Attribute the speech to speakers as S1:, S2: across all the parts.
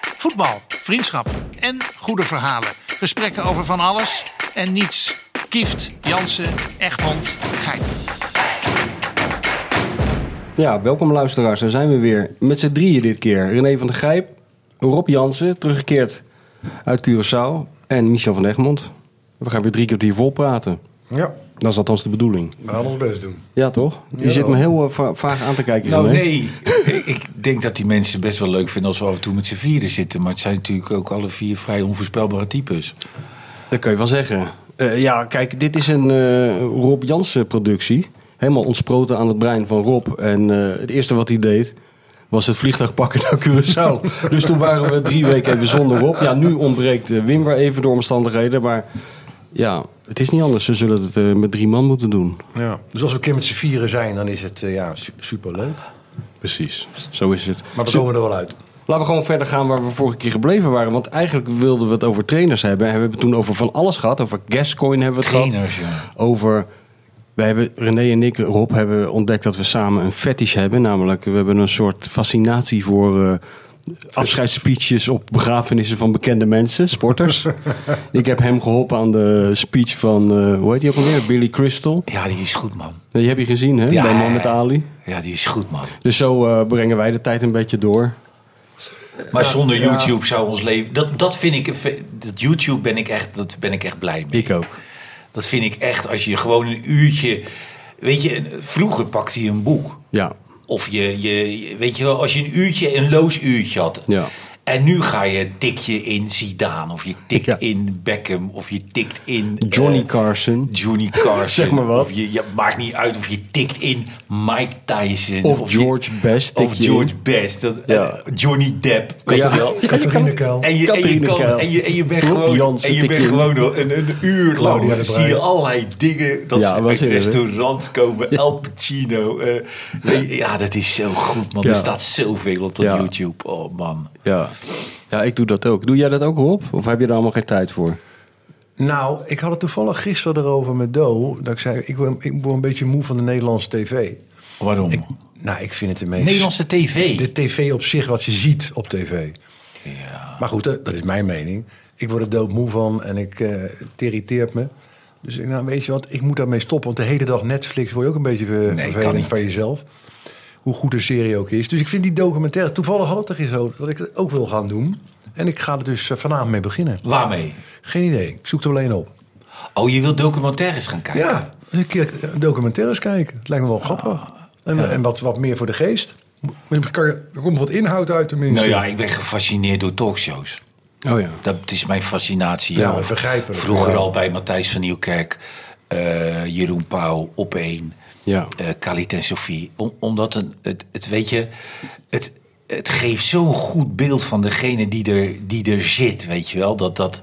S1: Voetbal, vriendschap en goede verhalen. Gesprekken over van alles en niets. Kieft, Jansen, Egmond, Gein.
S2: Ja, welkom luisteraars. Daar zijn we weer. Met z'n drieën dit keer. René van der Gijp, Rob Jansen, teruggekeerd uit Curaçao. En Michel van Egmond. We gaan weer drie keer die vol praten.
S3: Ja,
S2: Dat is althans de bedoeling.
S3: we gaan ons best doen.
S2: Ja, toch? Je
S3: Ja.
S2: zit me heel eh, va- vaag aan te kijken.
S4: Nou
S2: René.
S4: nee, ik ik denk dat die mensen best wel leuk vinden als we af en toe met z'n vieren zitten. Maar het zijn natuurlijk ook alle vier vrij onvoorspelbare types.
S2: Dat kun je wel zeggen. Eh, ja, kijk, dit is een eh, Rob Jansen productie. Helemaal ontsproten aan het brein van Rob. En eh, het eerste wat hij deed was het vliegtuig pakken naar Curaçao. dus toen waren we drie weken even zonder Rob. Ja, nu ontbreekt eh, Wim weer even door omstandigheden. Maar ja, het is niet anders. Ze zullen het eh, met drie man moeten doen.
S3: Ja. Dus als we een keer met z'n vieren zijn, dan is het eh, ja, su- superleuk.
S2: Precies. Zo is het.
S3: Maar we komen er wel uit.
S2: Laten we gewoon verder gaan waar we vorige keer gebleven waren. Want eigenlijk wilden we het over trainers hebben. En we hebben het toen over van alles gehad. Over Gascoin hebben we het gehad.
S4: Trainers, ja.
S2: over. Wij hebben, René en ik, Rob, hebben ontdekt dat we samen een fetish hebben. Namelijk, we hebben een soort fascinatie voor eh afscheidsspeeches op begrafenissen van bekende mensen, sporters. ik heb hem geholpen aan de speech van, eh, hoe heet die ook alweer? Billy Crystal.
S4: Ja, die is goed, man.
S2: Die heb je gezien, hè?
S4: Ja.
S2: Bij Mohammed Ali.
S4: Ja, die is goed, man.
S2: Dus zo eh, brengen wij de tijd een beetje door.
S4: Maar zonder YouTube zou ons leven... Dat, dat vind ik... een fe- Dat YouTube ben ik echt, dat ben ik echt blij mee.
S2: Ik ook.
S4: Dat vind ik echt als je gewoon een uurtje... Weet je, een- vroeger pakte je een boek.
S2: Ja,
S4: Of je, je, je- weet je wel, als je een uurtje, een loos uurtje had.
S2: Ja.
S4: En nu ga je tik je in Zidane, of je tikt
S2: Ja.
S4: in Beckham, of je tikt in...
S2: Johnny
S4: eh,
S2: Carson.
S4: Johnny Carson.
S2: Zeg maar wat.
S4: Of je, je- maakt niet uit of je tikt in Mike Tyson.
S2: Of
S4: je-
S2: George Best tik
S4: Of
S2: je
S4: George Best. Dat,
S2: Ja.
S4: eh, Johnny Depp, weet je wel.
S3: Catharine Kuil.
S4: En je, en, je
S2: Catharine
S4: kan,
S2: Kuil.
S4: en, je, en je bent
S2: Rob
S4: gewoon,
S2: Jansen
S4: en je
S2: tik
S4: bent
S2: je in.
S4: gewoon een, een uur lang.
S3: Claudia de
S4: zie
S3: Brij.
S4: je allerlei dingen. Dat
S2: Ja,
S4: ze
S2: wel
S4: uit
S2: serieus, hè?
S4: restaurants komen. Al Pacino. eh, weet je, ja, dat is zo goed, man.
S2: Ja.
S4: Er staat zoveel op dat
S2: Ja.
S4: YouTube. Oh, man.
S2: ja. Ja, ik doe dat ook. Doe jij dat ook, Rob? Of heb je daar allemaal geen tijd voor?
S3: Nou, ik had het toevallig gisteren erover met Do. Dat ik zei, ik word, ik word een beetje moe van de Nederlandse tv.
S4: Waarom?
S3: Ik, nou, ik vind het de meest...
S4: Nederlandse tv.
S3: De tv op zich, wat je ziet op tv.
S4: Ja.
S3: Maar goed, dat, dat is mijn mening. Ik word er doodmoe van en ik, eh, het irriteert me. Dus ik, nou, weet je wat, ik moet daarmee stoppen. Want de hele dag Netflix word je ook een beetje ver,
S4: kan
S3: vervelend
S4: niet.
S3: van jezelf. Hoe goed een serie ook is. Dus ik vind die documentaire... Toevallig had het er gisteren over dat ik het ook wil gaan doen. En ik ga er dus eh, vanavond mee beginnen.
S4: Waarmee?
S3: Geen idee, ik zoek er alleen op.
S4: Oh, je wilt documentaires gaan kijken?
S3: Ja, dus een keer documentaires kijken. Het lijkt me wel
S4: Ah,
S3: grappig. En, en wat, wat meer voor de geest. Mo- Kan je, er komt wat inhoud uit tenminste.
S4: Nou ja, ik ben gefascineerd door talkshows.
S2: Oh ja.
S4: Dat is mijn fascinatie.
S3: Ja,
S4: Of
S3: begrijpelijk.
S4: Vroeger
S3: Ja.
S4: al bij Matthijs van Nieuwkerk, eh, Jeroen Pauw, Opeen,
S2: Ja.
S4: eh Khalid en Sophie. Om- omdat een, het, het, weet je, het, het geeft zo'n goed beeld van degene die er, die er zit, weet je wel. Dat, dat,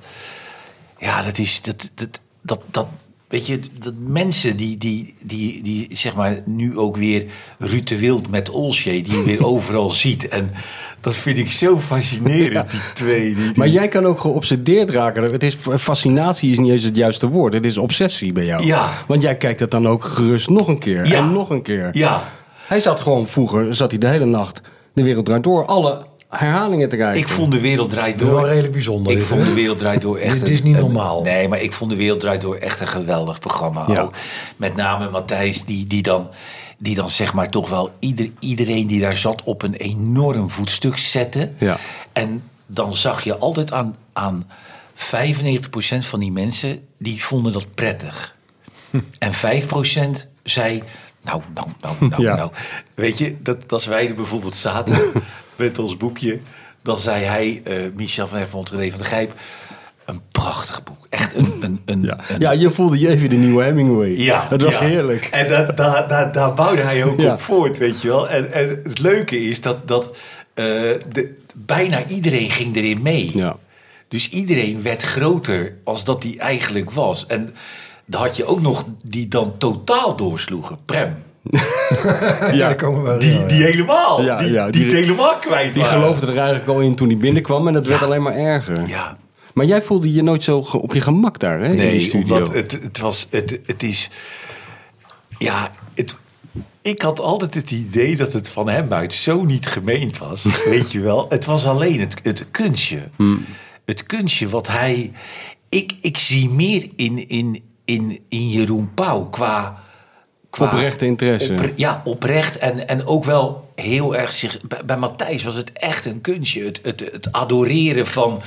S4: ja, dat is, dat, dat, dat, dat weet je, dat mensen die, die, die, die, zeg maar, nu ook weer Ruud de Wild met Olsje, die je weer overal ziet. En dat vind ik zo fascinerend, die twee. die- die-
S2: Maar jij kan ook geobsedeerd raken. Het is, fascinatie is niet eens het juiste woord. Het is obsessie bij jou.
S4: Ja.
S2: Want jij kijkt dat dan ook gerust nog een keer.
S4: Ja.
S2: En nog een keer.
S4: Ja,
S2: Hij zat gewoon vroeger, zat hij de hele nacht de wereld draait door. Alle herhalingen te kijken.
S4: ik vond de wereld draait
S3: Dat
S4: door.
S3: is wel redelijk bijzonder.
S4: Ik
S3: dit,
S4: vond
S3: hè?
S4: de wereld draait door echt.
S3: Dit
S4: een-
S3: is niet
S4: een-
S3: normaal.
S4: nee, maar ik vond de wereld draait door echt een geweldig programma.
S2: Ja.
S4: Ook met name Matthijs, die, die dan. Die dan zeg maar toch wel ieder, iedereen die daar zat op een enorm voetstuk zette.
S2: Ja.
S4: En dan zag je altijd aan, aan 95% van die mensen die vonden dat prettig. En 5% zei. Nou, nou, nou, nou,
S2: Ja.
S4: nou. Weet je, dat, dat als wij er bijvoorbeeld zaten met ons boekje. Dan zei hij, eh, Michel van Egmond, René van der Gijp. Een prachtig boek. Echt een. een, een,
S2: Ja.
S4: een-
S2: ja, je voelde je even de nieuwe Hemingway.
S4: ja,
S2: Het was
S4: ja.
S2: heerlijk.
S4: En daar daar daar- daar bouwde hij ook
S2: Ja.
S4: op voort, weet je wel. En, en het leuke is dat, dat eh, de, bijna iedereen ging erin mee.
S2: Ja.
S4: Dus iedereen werd groter als dat hij eigenlijk was. En dan had je ook nog die dan totaal doorsloegen, Prem.
S3: Ja, daar komen we wel
S4: Die,
S3: ja.
S4: die helemaal,
S2: Ja,
S4: die,
S2: ja,
S4: die,
S2: die-
S4: het helemaal kwijt
S2: Die
S4: waren.
S2: geloofde er eigenlijk al in toen hij binnenkwam. En dat werd alleen maar erger.
S4: Ja,
S2: Maar jij voelde je nooit zo ge- op je gemak daar, hè? in die
S4: Nee,
S2: studio.
S4: omdat het, het was, het, het is, ja, het, Ik had altijd het idee dat het van hem uit zo niet gemeend was. Weet je wel? Het was alleen het, het kunstje.
S2: Hmm.
S4: Het kunstje wat hij. Ik, ik zie meer in, in, in, in Jeroen Pauw qua. qua
S2: Oprechte interesse.
S4: opre- ja, oprecht. En, en ook wel heel erg zich. Bij, bij Matthijs was het echt een kunstje. Het, het, het adoreren van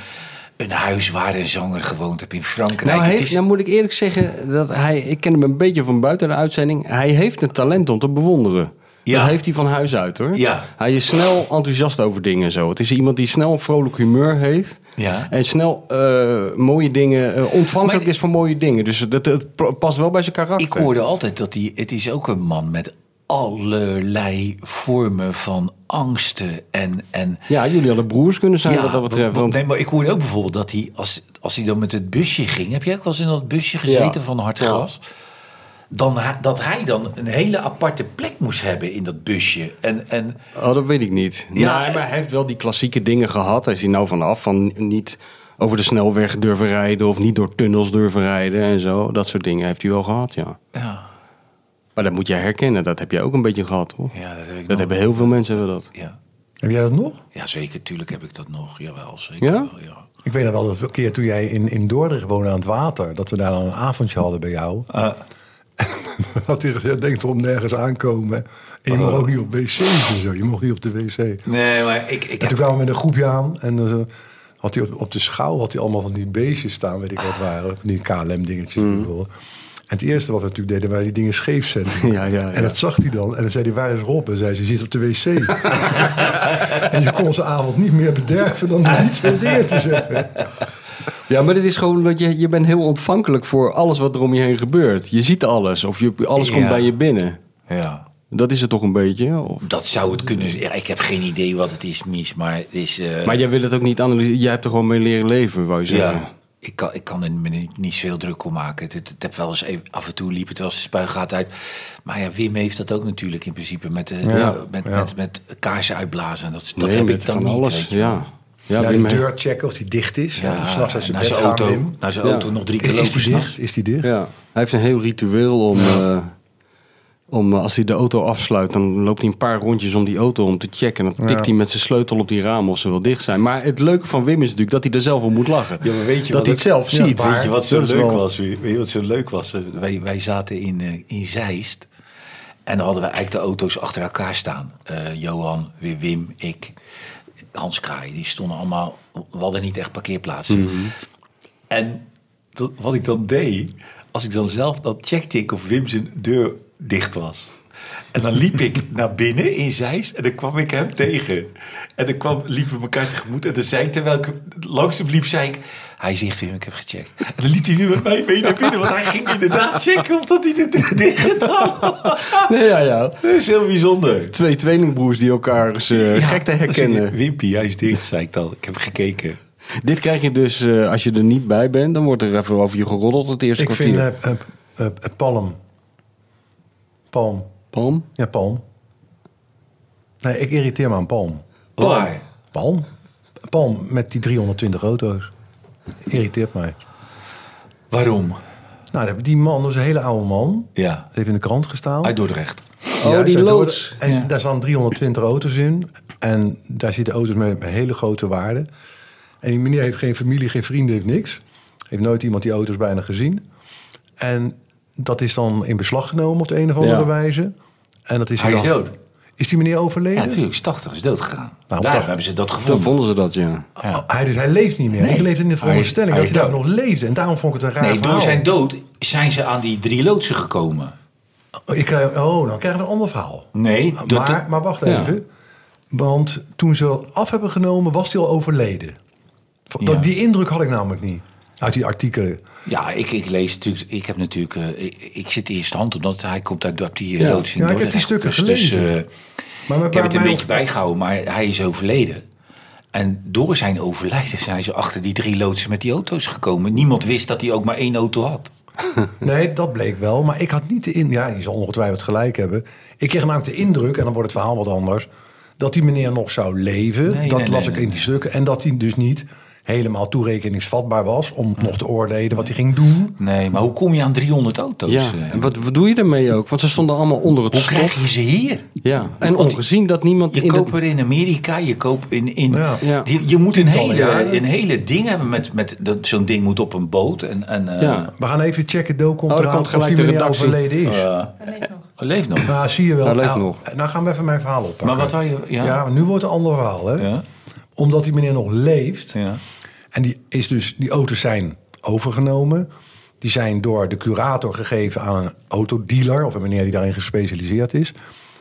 S4: een huis waar een zanger gewoond heeft in Frankrijk.
S2: Nou,
S4: Het
S2: heeft,
S4: is-
S2: nou moet ik eerlijk zeggen, dat hij, ik ken hem een beetje van buiten de uitzending. Hij heeft een talent om te bewonderen.
S4: Ja.
S2: Dat heeft hij van huis uit hoor.
S4: Ja.
S2: Hij is snel enthousiast over dingen en zo. Het is iemand die snel een vrolijk humeur heeft.
S4: Ja.
S2: En snel eh, mooie dingen, eh, ontvankelijk
S4: Maar-
S2: is voor mooie dingen. Dus dat, het pl- past wel bij zijn karakter.
S4: Ik hoorde altijd dat hij. Het is ook een man met allerlei vormen van angsten en. en
S2: Ja, jullie hadden broers kunnen zijn Nou, wat dat betreft.
S4: wa- wa-
S2: Want
S4: nee, maar ik hoorde ook bijvoorbeeld dat hij, als, als hij dan met het busje ging, heb jij ook wel eens in dat busje gezeten
S2: Ja.
S4: van Hartgras? Dan, hij- dat hij dan een hele aparte plek moest hebben in dat busje. En, en
S2: Oh, dat weet ik niet.
S4: Ja, eh,
S2: nee, maar hij heeft wel die klassieke dingen gehad. Hij is hier nou vanaf van niet over de snelweg durven rijden of niet door tunnels durven rijden en zo. Dat soort dingen heeft hij wel gehad, ja.
S4: ja,
S2: Maar dat moet jij herkennen. Dat heb jij ook een beetje gehad, hoor.
S4: ja, dat heb ik
S2: dat
S4: nog.
S2: hebben heel veel mensen hebben dat.
S4: ja.
S3: Heb jij dat nog?
S4: ja, zeker, tuurlijk heb ik dat nog. Jawel, zeker.
S2: Ja?
S4: wel, ja.
S3: Ik weet nog wel dat een keer toen jij in, in Dordrecht woonde aan het water... dat we daar dan een avondje hadden bij jou. had hij gezegd, denk erom nergens aankomen. En je mag ook niet op wc's en zo. Je mocht niet op de wc.
S4: nee, maar ik, ik
S3: En toen
S4: heb
S3: kwamen we met een groepje aan. En eh, had hij op, op de schouw had hij allemaal van die beestjes staan. Weet ik wat waren. Van die KLM-dingetjes. bijvoorbeeld. En het eerste wat we natuurlijk deden, waren die dingen scheef zetten.
S2: Ja, ja, ja.
S3: En dat zag hij dan. En dan zei hij, waar is Rob? En zei ze, zit op de wc. en je kon zijn avond niet meer bederven dan er niet meer dingen te zeggen.
S2: Ja, maar het is gewoon dat je, je bent heel ontvankelijk voor alles wat er om je heen gebeurt. Je ziet alles of je, alles
S4: Ja.
S2: komt bij je binnen.
S4: Ja.
S2: Dat is het toch een beetje? Of...
S4: Dat zou het kunnen zijn. Ja, ik heb geen idee wat het is, Mies, maar het is... eh,
S2: Maar jij wil het ook niet analyseren. Jij hebt er gewoon mee leren leven, wou je zeggen.
S4: ja, ik kan, ik kan er me niet, niet zo heel druk om maken. Het, het, het heb wel eens even, af en toe liep het wel eens de spuigaat uit. Maar ja, Wim heeft dat ook natuurlijk in principe met, eh,
S2: Ja,
S4: met,
S3: ja.
S4: met, met kaarsen uitblazen. En Dat, dat
S2: Nee,
S4: heb
S2: met
S4: ik dan
S2: van
S4: niet,
S2: alles.
S4: weet je.
S2: ja. Ja,
S3: Ja,
S2: Wim
S3: die
S2: heeft-
S3: deur checken of die dicht is.
S4: Ja,
S3: Ja, s'nachts als je
S4: naar
S3: bed
S4: zijn
S3: gaat,
S4: auto,
S3: Wim.
S4: naar zijn
S2: Ja.
S4: auto nog drie keer
S3: Is
S4: lopen
S3: die
S4: s'nachts.
S3: dicht? Is die dicht?
S2: Ja, hij heeft een heel ritueel om, eh, om eh, als hij de auto afsluit, dan loopt hij een paar rondjes om die auto om te checken. En dan tikt hij met zijn sleutel op die ramen of ze wel dicht zijn. Maar het leuke van Wim is natuurlijk dat hij er zelf om moet lachen.
S4: Ja, maar weet je
S2: dat
S4: wat
S2: hij het
S4: het-
S2: zelf
S3: ja,
S2: ziet.
S3: maar-
S4: Weet je wat zo
S2: Dat is
S4: leuk
S2: wel-
S4: was? Weet je wat zo leuk was? Eh, Wij, wij zaten in, eh, in Zeist. En dan hadden we eigenlijk de auto's achter elkaar staan. Eh, Johan, Wim, Wim, ik, Hans Kraai. Die stonden allemaal... We hadden niet echt parkeerplaatsen.
S2: Hmm.
S4: En dat- wat ik dan deed... Als ik dan zelf... Dan checkte ik of Wim zijn deur dicht was. En dan liep ik naar binnen in Zeist en dan kwam ik hem tegen. En dan kwam, liepen we elkaar tegemoet en dan zei ik terwijl ik langs hem liep, zei ik... Hij zegt Wim, ik heb gecheckt. En dan liet hij weer met mij mee naar binnen, want hij ging inderdaad checken of dat hij de deur dicht gedaan had.
S2: Nee, ja, ja.
S4: Dat is heel bijzonder.
S2: Twee tweelingbroers die elkaar eens, eh, gek te
S4: Ja, dan zei hij,
S2: herkennen.
S4: Wimpy, hij is dicht, zei ik dan. Ik heb gekeken.
S2: Dit krijg je dus eh, als je er niet bij bent. Dan wordt er even over je geroddeld het eerste
S3: Ik
S2: kwartier.
S3: vind eh eh, eh, eh, Palm. Palm.
S4: eh,
S2: Palm?
S3: Ja, palm. Nee, ik irriteer me aan palm.
S4: Waar?
S3: Palm? Palm met die 320 auto's. Irriteert mij.
S4: Waarom?
S3: Nou, die man, dat is een hele oude man.
S4: Ja,
S3: Dat heeft in de krant gestaan.
S4: uit Dordrecht.
S2: Oh,
S3: Ja,
S2: die
S3: uit
S2: loods.
S3: Dordrecht. En
S4: Ja.
S3: daar staan 320 auto's in. En daar zitten auto's met hele grote waarde. En die meneer heeft geen familie, geen vrienden, heeft niks. Heeft nooit iemand die auto's bijna gezien. En dat is dan in beslag genomen op de een of andere
S2: Ja.
S3: wijze. En dat is
S4: Hij is
S3: dan-
S4: dood.
S3: Is die meneer
S4: Ja,
S3: overleden?
S4: natuurlijk, is 80 is dood gegaan.
S3: Nou,
S4: Daarom
S3: toch.
S4: hebben ze dat
S2: Dan
S4: gevonden.
S2: vonden ze dat, ja.
S4: Ja.
S3: Oh, hij, dus hij leeft niet meer.
S4: Nee.
S3: Ik leefde in de
S4: Hij-
S3: veronderstelling
S4: hij
S3: dat hij
S4: is
S3: daar nog leefde. En daarom vond ik het een raar
S4: Nee, door
S3: verhaal.
S4: zijn dood zijn ze aan die drie loodsen gekomen.
S3: Oh, ik krijg, oh, dan krijg je een ander verhaal.
S4: Nee, dat-
S3: maar, maar wacht
S2: Ja.
S3: even. Want toen ze dat af hebben genomen, was hij al overleden. Dat,
S4: Ja.
S3: Die indruk had ik namelijk niet. Uit die artikelen.
S4: Ja, ik, ik lees natuurlijk. Ik heb natuurlijk. eh, ik, ik zit eerste hand omdat hij komt uit dat die
S2: Ja.
S4: ja. loods in
S3: Ja, ik heb die
S4: Dordrecht.
S3: stukken
S4: dus, dus,
S3: gelezen.
S4: eh,
S3: Maar met
S4: ik heb het een beetje bijgehouden, maar hij is overleden. En door zijn overlijden zijn ze achter die drie loodsen met die auto's gekomen. Niemand wist dat hij ook maar één auto had.
S3: Nee, dat bleek wel. Maar ik had niet de indruk... Ja, je zal ongetwijfeld gelijk hebben. Ik kreeg namelijk de indruk, en dan wordt het verhaal wat anders... dat die meneer nog zou leven.
S4: Nee,
S3: dat
S4: nee,
S3: las
S4: nee,
S3: ik
S4: nee,
S3: in die stukken. En dat hij dus niet helemaal toerekeningsvatbaar was om nog te oordelen wat hij ging doen.
S4: Nee, maar hoe kom je aan 300 auto's?
S2: Ja,
S4: eh?
S2: en wat, wat doe je ermee ook? Want ze stonden allemaal onder het
S4: hoe
S2: stof.
S4: krijg je ze hier?
S2: Ja, en ongezien dat niemand
S4: Je
S2: in
S4: koopt
S2: de...
S4: er in Amerika, je koopt in. in
S3: Ja.
S2: Ja.
S4: Je, je moet een
S3: Tientallen
S4: hele,
S3: jaren.
S4: een hele ding hebben met. met dat Zo'n ding moet op een boot. En, en, eh,
S2: Ja,
S3: We gaan even checken, Deel komt
S2: Oh, er
S3: eraan
S2: komt
S3: of
S2: gelijk
S3: die
S2: de
S3: meneer
S2: redactie.
S3: overleden is.
S4: Oh, hij leeft nog.
S3: Nou, zie je wel.
S2: Hij leeft
S3: nou,
S2: nog.
S3: nou gaan we even mijn verhaal oppakken.
S4: Maar wat wou je- ja.
S3: Ja, maar nu wordt het een ander verhaal. Hè?
S4: Ja.
S3: Omdat die meneer nog leeft.
S4: Ja.
S3: En die, is dus, die auto's zijn overgenomen. Die zijn door de curator gegeven aan een autodealer... of een meneer die daarin gespecialiseerd is.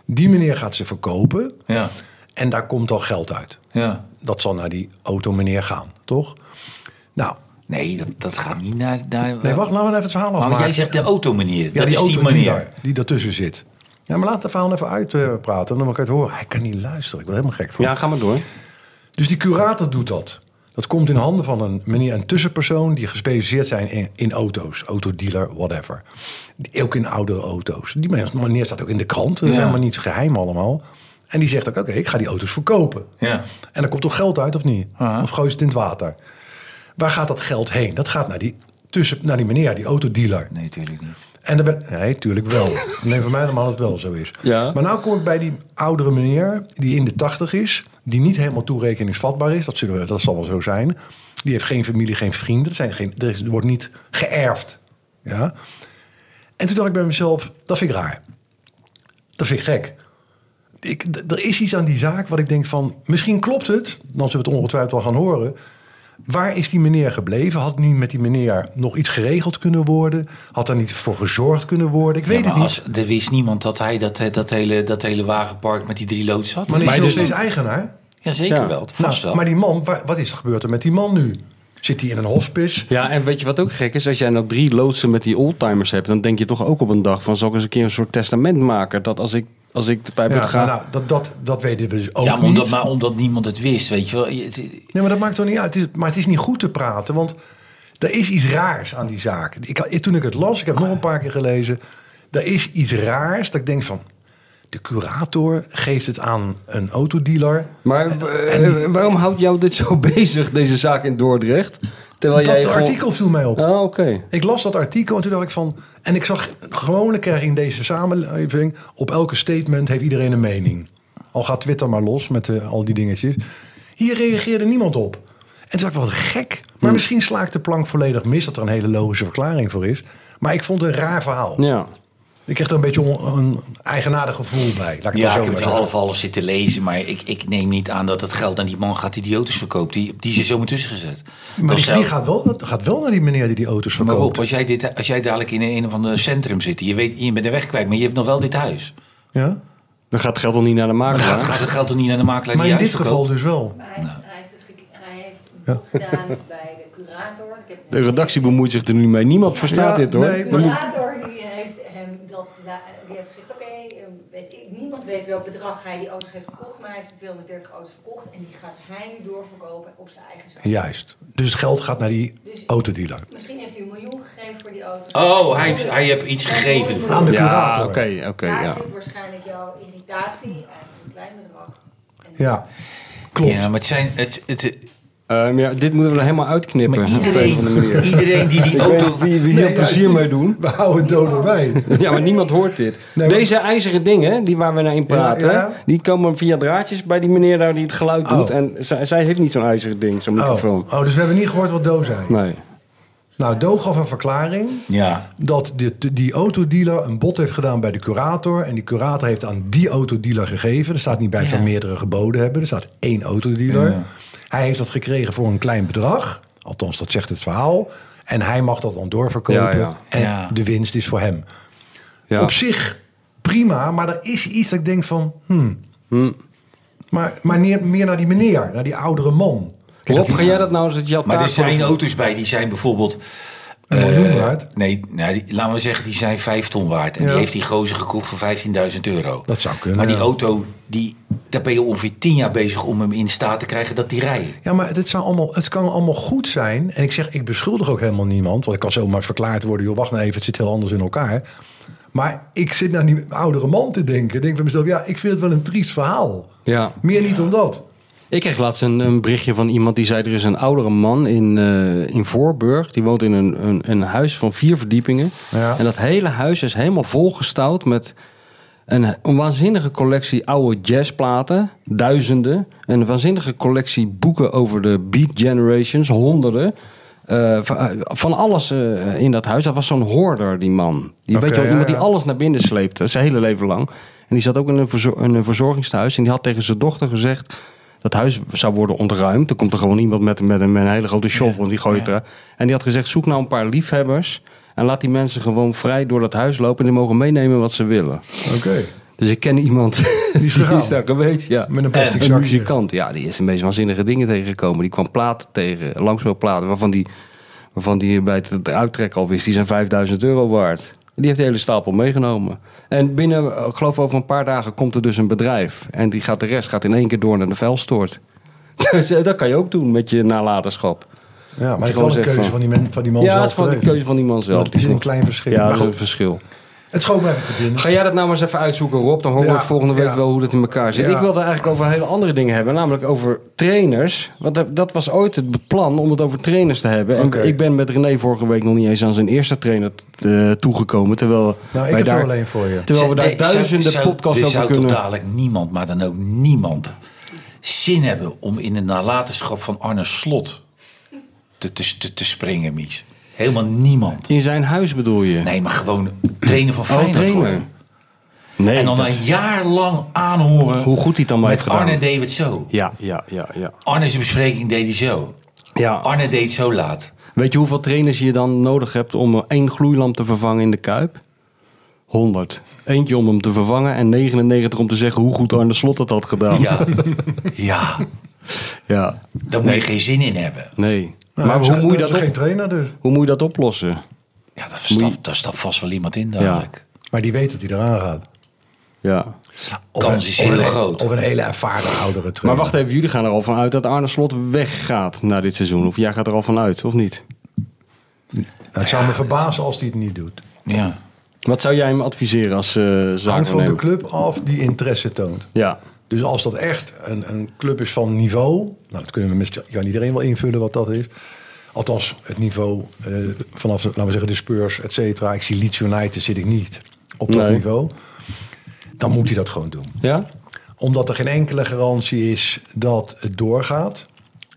S3: Die meneer gaat ze verkopen.
S4: Ja.
S3: En daar komt al geld uit.
S4: ja.
S3: Dat zal naar die automeneer gaan, toch? Nou,
S4: Nee, dat, dat gaat niet naar. naar
S3: nee, wacht, laten we even het verhaal
S4: Maar
S3: afmaken.
S4: jij zegt de automanier.
S3: Ja,
S4: dat
S3: die
S4: is die
S3: autodealer
S4: manier.
S3: die daartussen zit. Ja, maar laat de verhaal even uitpraten. Dan kan ik het horen. Hij kan niet luisteren. Ik word helemaal gek van.
S2: ja, ga maar door.
S3: Dus die curator doet dat. Dat komt in handen van een meneer, een tussenpersoon... die gespecialiseerd zijn in, in auto's. Autodealer, whatever. Die- Ook in oudere auto's. Die meneer staat ook in de krant. Dat is
S4: Ja.
S3: helemaal niet geheim allemaal. En die zegt ook, oké, ik ga die auto's verkopen.
S4: Ja.
S3: En er komt toch geld uit, of niet?
S4: Aha.
S3: Of gooit het in het water? Waar gaat dat geld heen? Dat gaat naar die, tussen, naar die meneer, die autodealer.
S4: Nee, natuurlijk niet.
S3: En dan ben, nee, tuurlijk wel. Nee, voor mij normaal dat het wel zo is.
S2: Ja.
S3: Maar nou kom ik bij die oudere meneer die in de tachtig is, die niet helemaal toerekeningsvatbaar is. Dat, zullen we, dat zal wel zo zijn. Die heeft geen familie, geen vrienden. Er, zijn geen, er, is, er wordt niet geërfd. Ja? En toen dacht ik bij mezelf, dat vind ik raar. Dat vind ik gek. Ik, d- er is iets aan die zaak wat ik denk van, misschien klopt het. Dan zullen we het ongetwijfeld wel gaan horen. Waar is die meneer gebleven? Had niet met die meneer nog iets geregeld kunnen worden? Had daar niet voor gezorgd kunnen worden? Ik weet
S4: Ja,
S3: het
S4: maar
S3: niet.
S4: als, er wist niemand dat hij dat, eh, dat, hele, dat hele wagenpark met die drie loods had.
S3: Maar is
S2: Maar
S3: hij nog
S2: dus-
S3: steeds eigenaar?
S4: Jazeker
S2: Ja.
S4: wel, vast
S3: Nou,
S4: wel.
S3: maar die man, wa- wat is er gebeurd er met die man nu? Zit hij in een hospice?
S2: Ja, en weet je wat ook gek is? Als jij nou drie loodsen met die oldtimers hebt... dan denk je toch ook op een dag van... zal ik eens een keer een soort testament maken... dat als ik, als ik erbij
S3: Ja,
S2: moet gaan...
S3: nou, dat, dat, dat weten we dus ook
S4: ja, maar
S3: niet.
S4: omdat, maar omdat niemand het wist, weet je wel. Je- het-
S3: Nee, maar dat maakt toch niet uit. Het is, maar het is niet goed te praten, want er is iets raars aan die zaak. Ik, ik- toen ik het las, ik heb het nog een paar keer gelezen. Er is iets raars dat ik denk van... De curator geeft het aan een autodealer.
S2: Maar eh, waarom houdt jou dit zo bezig, deze zaak in Dordrecht? Terwijl jij
S3: dat
S2: gewoon-
S3: artikel viel mij op.
S2: Ah, oké.
S3: Ik las dat artikel en toen dacht ik van... En ik zag gewoonlijk eh, in deze samenleving... op elke statement heeft iedereen een mening. Al gaat Twitter maar los met eh, al die dingetjes. Hier reageerde niemand op. En toen dacht ik, wat gek. Maar misschien sla ik de plank volledig mis... dat er een hele logische verklaring voor is. Maar ik vond het een raar verhaal.
S2: Ja.
S3: Ik kreeg er een beetje on- een eigenaardig gevoel bij. Laat ik het dan zo
S4: Ja, ik heb
S3: maar
S4: het
S3: zeggen.
S4: half alles zitten lezen, maar ik, ik neem niet aan dat het geld aan die man gaat die die auto's verkoopt. Die, die is er zo maar tussen gezet.
S3: Maar
S4: Dat
S3: die,
S4: zou-
S3: die gaat, wel, dat gaat wel naar die meneer die die auto's
S4: maar
S3: verkoopt.
S4: Rob, als jij, dit, als jij dadelijk in een of ander centrum zit, je, weet, je bent de weg kwijt, maar je hebt nog wel dit huis.
S3: ja?
S2: Dan gaat het geld al niet naar de
S4: Dan gaat,
S2: makelaar.
S4: gaat het geld toch niet naar de makelaar
S3: Maar
S4: die
S3: in
S4: je
S3: dit
S4: huis
S3: geval
S4: verkoopt?
S3: dus wel.
S5: Maar hij, heeft, hij heeft het ge- hij heeft een bod gedaan bij de curator. Ik heb
S2: De redactie bemoeit zich er nu mee. Niemand verstaat
S3: Ja,
S2: dit, hoor.
S3: nee,
S5: De
S3: maar-
S5: curator die eh, heeft hem dat, la- die heeft gezegd, oké, eh, weet ik- niemand weet welk bedrag hij die auto's heeft verkocht, maar hij heeft 230 auto's verkocht en die gaat hij nu doorverkopen op zijn eigen zaak.
S3: Juist. Dus het geld gaat naar die
S5: Dus-
S3: autodealer.
S5: Misschien heeft hij een miljoen gegeven voor die auto's.
S4: Oh, hij heeft- hij heeft iets gegeven ervoor.
S3: Aan de
S2: Ja,
S3: curator.
S2: oké, oké,
S5: Daar
S2: ja.
S5: zit waarschijnlijk jouw irritatie aan een klein bedrag. En
S3: Ja, klopt.
S4: Ja, maar het zijn, het, het,
S2: Ehm, ja. Dit moeten we er helemaal uitknippen.
S4: maar
S2: op de een of andere
S4: iedereen,
S2: manier.
S4: iedereen die die
S2: Ik weet
S4: auto...
S2: niet wie, wie hier
S3: Nee, ja,
S2: plezier
S3: ik-
S2: mee doen.
S3: We houden doden bij.
S2: Ja, maar niemand hoort dit.
S3: maar-
S2: Deze ijzeren dingen, die waar we naar in praten,
S3: Ja, ja.
S2: die komen via draadjes bij die meneer daar die het geluid
S3: Oh.
S2: doet. En zij, zij heeft niet zo'n ijzeren ding, zo'n
S3: Oh.
S2: microfoon.
S3: oh, dus we hebben niet gehoord wat Do zei.
S2: Nee.
S3: Nou, Do gaf een verklaring
S4: Ja,
S3: dat die, die autodealer een bod heeft gedaan bij de curator. En die curator heeft aan die autodealer gegeven. Er staat niet bij dat
S4: Ja.
S3: we meerdere geboden hebben. Er staat één autodealer.
S4: Ja.
S3: Hij heeft dat gekregen voor een klein bedrag. Althans, dat zegt het verhaal. En hij mag dat dan doorverkopen.
S2: Ja, ja.
S3: En
S4: Ja.
S3: de winst is voor hem.
S2: Ja.
S3: Op zich prima, maar er is iets dat ik denk van... Hmm. Maar, maar neer- meer naar die meneer, naar die oudere man.
S2: Rob,
S3: Kijk, dat
S2: ga
S3: die-
S2: jij dat nou eens het jat
S4: maar er
S2: taak voor-
S4: zijn auto's bij die zijn bijvoorbeeld...
S3: Een miljoen
S4: eh,
S3: waard.
S4: Nee, nou, die, laten we zeggen, die zijn 5 ton waard. En
S3: Ja.
S4: die heeft die gozer gekocht voor 15.000 euro.
S3: Dat zou kunnen,
S4: Maar die
S3: ja.
S4: auto, die, daar ben je ongeveer 10 jaar bezig om hem in staat te krijgen dat die rijdt.
S3: Ja, maar het, zou allemaal, het kan allemaal goed zijn. En ik zeg, ik beschuldig ook helemaal niemand. Want ik kan zomaar verklaard worden, joh, wacht nou even, het zit heel anders in elkaar. Maar ik zit nou naar die oudere man te denken. Ik denk bij mezelf, ja, ik vind het wel een triest verhaal.
S2: Ja.
S3: Meer niet dan dat.
S2: Ik kreeg laatst een, een berichtje van iemand die zei... er is een oudere man in, eh, in Voorburg. Die woont in een, een, een huis van vier verdiepingen.
S3: Ja.
S2: En dat hele huis is helemaal volgestouwd met... Een, een waanzinnige collectie oude jazzplaten, duizenden. Een waanzinnige collectie boeken over de Beat Generations, honderden. Eh, van, eh, van alles eh, in dat huis. Dat was zo'n hoorder, die man. Die
S3: Oké,
S2: weet je wel,
S3: ja,
S2: iemand die
S3: ja.
S2: alles naar binnen sleept, eh, zijn hele leven lang. En die zat ook in een, verzor- in een verzorgingstehuis. En die had tegen zijn dochter gezegd. Dat huis zou worden ontruimd. Dan komt er gewoon iemand met, met, een, met een hele grote shovel en die gooit er. En die had gezegd: zoek nou een paar liefhebbers. En laat die mensen gewoon vrij door dat huis lopen. En die mogen meenemen wat ze willen.
S3: Oké.
S2: Dus ik ken iemand die is,
S3: gegaan.
S2: daar geweest. Ja.
S3: Met een plastic
S2: Een
S3: zakje.
S2: muzikant, ja, die is de meest waanzinnige dingen tegengekomen. Die kwam platen tegen, langspeelplaten, waarvan die, waarvan die bij het uittrekken al wist, die zijn 5000 euro waard. Die heeft de hele stapel meegenomen. En binnen, eh, ik geloof over een paar dagen, komt er dus een bedrijf. En die gaat de rest gaat in één keer door naar de vuilstort. Dus eh, dat kan je ook doen met je nalatenschap.
S3: Ja, maar het is
S2: gewoon
S3: wel een
S2: zeggen
S3: keuze
S2: van-
S3: van die, men, van die man
S2: ja,
S3: zelf.
S2: het is van de
S3: geweest.
S2: keuze van die man zelf.
S3: Dat is een klein verschil.
S2: Ja,
S3: Maar
S2: dat is
S3: goed.
S2: een verschil.
S3: Het schoot me even te binnen.
S2: Ga jij dat nou maar eens even uitzoeken, Rob? Dan horen
S3: Ja,
S2: we het volgende week
S3: ja.
S2: wel hoe dat in elkaar zit.
S3: Ja.
S2: Ik wilde eigenlijk over hele andere dingen hebben, namelijk over trainers. Want dat- dat was ooit het plan om het over trainers te hebben. En
S3: Oké.
S2: ik ben met René vorige week nog niet eens aan zijn eerste trainer t- eh, toegekomen. Terwijl
S3: Nou, ik
S2: wij
S3: heb er
S2: daar,
S3: alleen voor je.
S2: Terwijl we daar
S4: Zou- zou-
S2: duizenden
S4: zou-
S2: podcasts
S4: er
S2: over
S4: zou
S2: kunnen.
S4: toch dadelijk niemand, maar dan ook niemand, zin hebben om in de nalatenschap van Arne Slot te, te, te, te springen, Mies. Helemaal niemand.
S2: In zijn huis bedoel je?
S4: Nee, maar gewoon trainen van
S2: Oh,
S4: Feyenoord
S2: trainer.
S4: worden.
S2: Nee,
S4: En dan
S2: dat-
S4: een jaar lang aanhoren
S2: Hoe goed hij het dan maar
S4: met
S2: heeft gedaan.
S4: Arne deed het zo.
S2: Ja, ja, ja, ja.
S4: Arne's bespreking deed hij zo.
S2: ja.
S4: Oh. Arne deed het zo laat.
S2: Weet je hoeveel trainers je dan nodig hebt om één gloeilamp te vervangen in de Kuip? 100. Eentje om hem te vervangen en 99 om te zeggen hoe goed Arne Slot dat had gedaan.
S4: Ja, ja.
S2: Ja.
S4: daar moet je geen zin in hebben.
S2: Nee.
S3: Nou,
S2: maar
S3: hebben
S2: hoe
S3: ze-
S2: moet, je
S3: hebben
S2: dat
S3: ze geen
S2: op,
S3: trainer dus.
S2: hoe moet je dat oplossen?
S4: Ja, daar
S2: Moet je-
S4: stapt, daar stapt vast wel iemand in dadelijk.
S3: Maar die weet dat hij eraan gaat.
S2: Ja.
S4: Kans is
S3: of
S4: heel
S3: een-
S4: groot.
S3: Of een hele ervaren oudere trainer.
S2: Maar wacht even, jullie gaan er al van uit dat Arne Slot weggaat na dit seizoen. Of jij gaat er al van uit, of niet?
S3: Nou, het zou me verbazen als hij het niet doet.
S4: Ja.
S2: Wat zou jij hem adviseren als eh
S3: Hangt van de
S2: zaakwaarnemer?
S3: club af die interesse toont.
S2: Ja.
S3: Dus als dat echt een, een club is van niveau, nou dat kunnen we misschien kan iedereen wel invullen wat dat is. Althans, het niveau eh, vanaf, laten we zeggen, de Spurs, et cetera. Ik zie Leeds United zit ik niet op dat
S2: Nee.
S3: niveau. Dan moet hij dat gewoon doen.
S2: Ja?
S3: Omdat er geen enkele garantie is dat het doorgaat.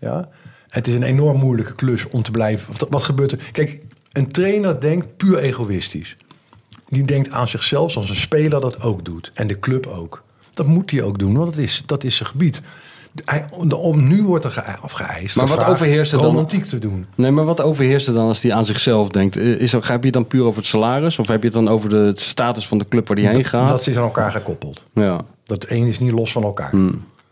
S3: Ja? Het is een enorm moeilijke klus om te blijven. Wat, wat gebeurt er? Kijk, een trainer denkt puur egoïstisch. Die denkt aan zichzelf zoals een speler dat ook doet. En de club ook. Dat moet hij ook doen, want dat is, dat is zijn gebied. Hij, om, nu wordt er ge, of geëist.
S2: Maar wat
S3: gevraagd
S2: overheerst er dan?
S3: Romantiek te doen.
S2: Nee, maar wat overheerst er dan als hij aan zichzelf denkt? Eh, Is, er- heb je het dan puur over het salaris? Of heb je het dan over de status van de club waar hij heen gaat?
S3: Dat is aan elkaar gekoppeld.
S2: Ja.
S3: Dat een is niet los van elkaar.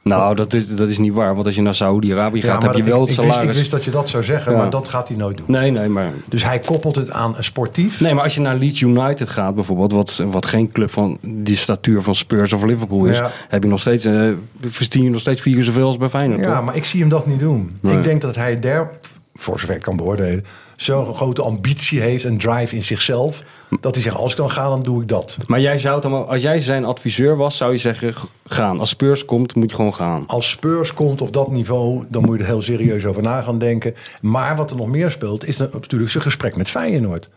S2: Nou, dat is, dat is niet waar. Want als je naar Saudi-Arabië gaat,
S3: maar
S2: heb je
S3: dat-
S2: wel
S3: ik,
S2: het
S3: ik wist,
S2: salaris.
S3: ik wist dat je dat zou zeggen,
S2: Ja.
S3: maar dat gaat hij nooit doen.
S2: Nee, nee, maar...
S3: Dus hij koppelt het aan een sportief.
S2: Nee, maar als je naar Leeds United gaat bijvoorbeeld, wat, wat geen club van die statuur van Spurs of Liverpool is,
S3: Ja.
S2: heb je nog steeds, eh verdien je nog steeds vier keer zoveel als bij Feyenoord.
S3: Ja,
S2: toch?
S3: maar ik zie hem dat niet doen.
S2: Nee.
S3: Ik denk dat hij daar, voor zover ik kan beoordelen, zo'n grote ambitie heeft en drive in zichzelf. Dat hij zegt, als ik dan ga, dan doe ik dat.
S2: Maar jij zou dan, wel- als jij zijn adviseur was, zou je zeggen, g- gaan. Als Spurs komt, moet je gewoon gaan.
S3: Als Spurs komt op dat niveau, dan moet je er heel serieus over na gaan denken. Maar wat er nog meer speelt, is dan natuurlijk zijn gesprek met Feyenoord.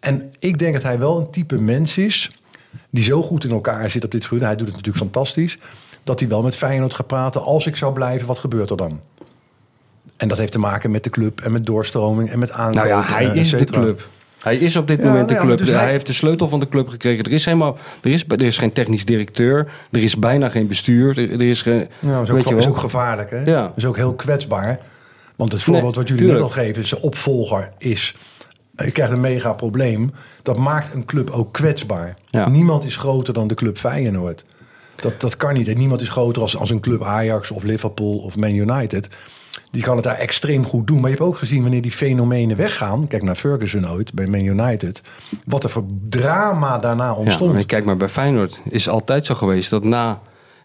S3: En ik denk dat hij wel een type mens is, die zo goed in elkaar zit op dit gebied. Hij doet het natuurlijk fantastisch. Dat hij wel met Feyenoord gaat praten. Als ik zou blijven, wat gebeurt er dan? En dat heeft te maken met de club en met doorstroming en met
S2: Nou
S3: aankopen.
S2: ja, hij
S3: eh, et
S2: is de
S3: cetera.
S2: club. Hij is op dit
S3: Ja,
S2: moment de
S3: ja,
S2: club.
S3: dus
S2: hij
S3: hij-
S2: heeft de sleutel van de club gekregen. Er is, helemaal, er, is, er is geen technisch directeur. Er is bijna geen bestuur. Er, er is geen.
S3: Ja, dat is
S2: weet
S3: ook,
S2: je
S3: is
S2: wel.
S3: ook gevaarlijk, hè?
S2: Ja.
S3: Dat is ook heel kwetsbaar. Want het voorbeeld
S2: Nee,
S3: wat jullie
S2: tuurlijk.
S3: net al geven, zijn opvolger is... Ik krijg een mega probleem. Dat maakt een club ook kwetsbaar.
S2: Ja.
S3: Niemand is groter dan de club Feyenoord. Dat, dat kan niet. En niemand is groter als, als een club Ajax of Liverpool of Man United. Die kan het daar extreem goed doen. Maar je hebt ook gezien wanneer die fenomenen weggaan. Kijk naar Ferguson ooit bij Man United. Wat er voor drama daarna
S2: Ja,
S3: ontstond.
S2: maar kijk maar, bij Feyenoord is altijd zo geweest dat na...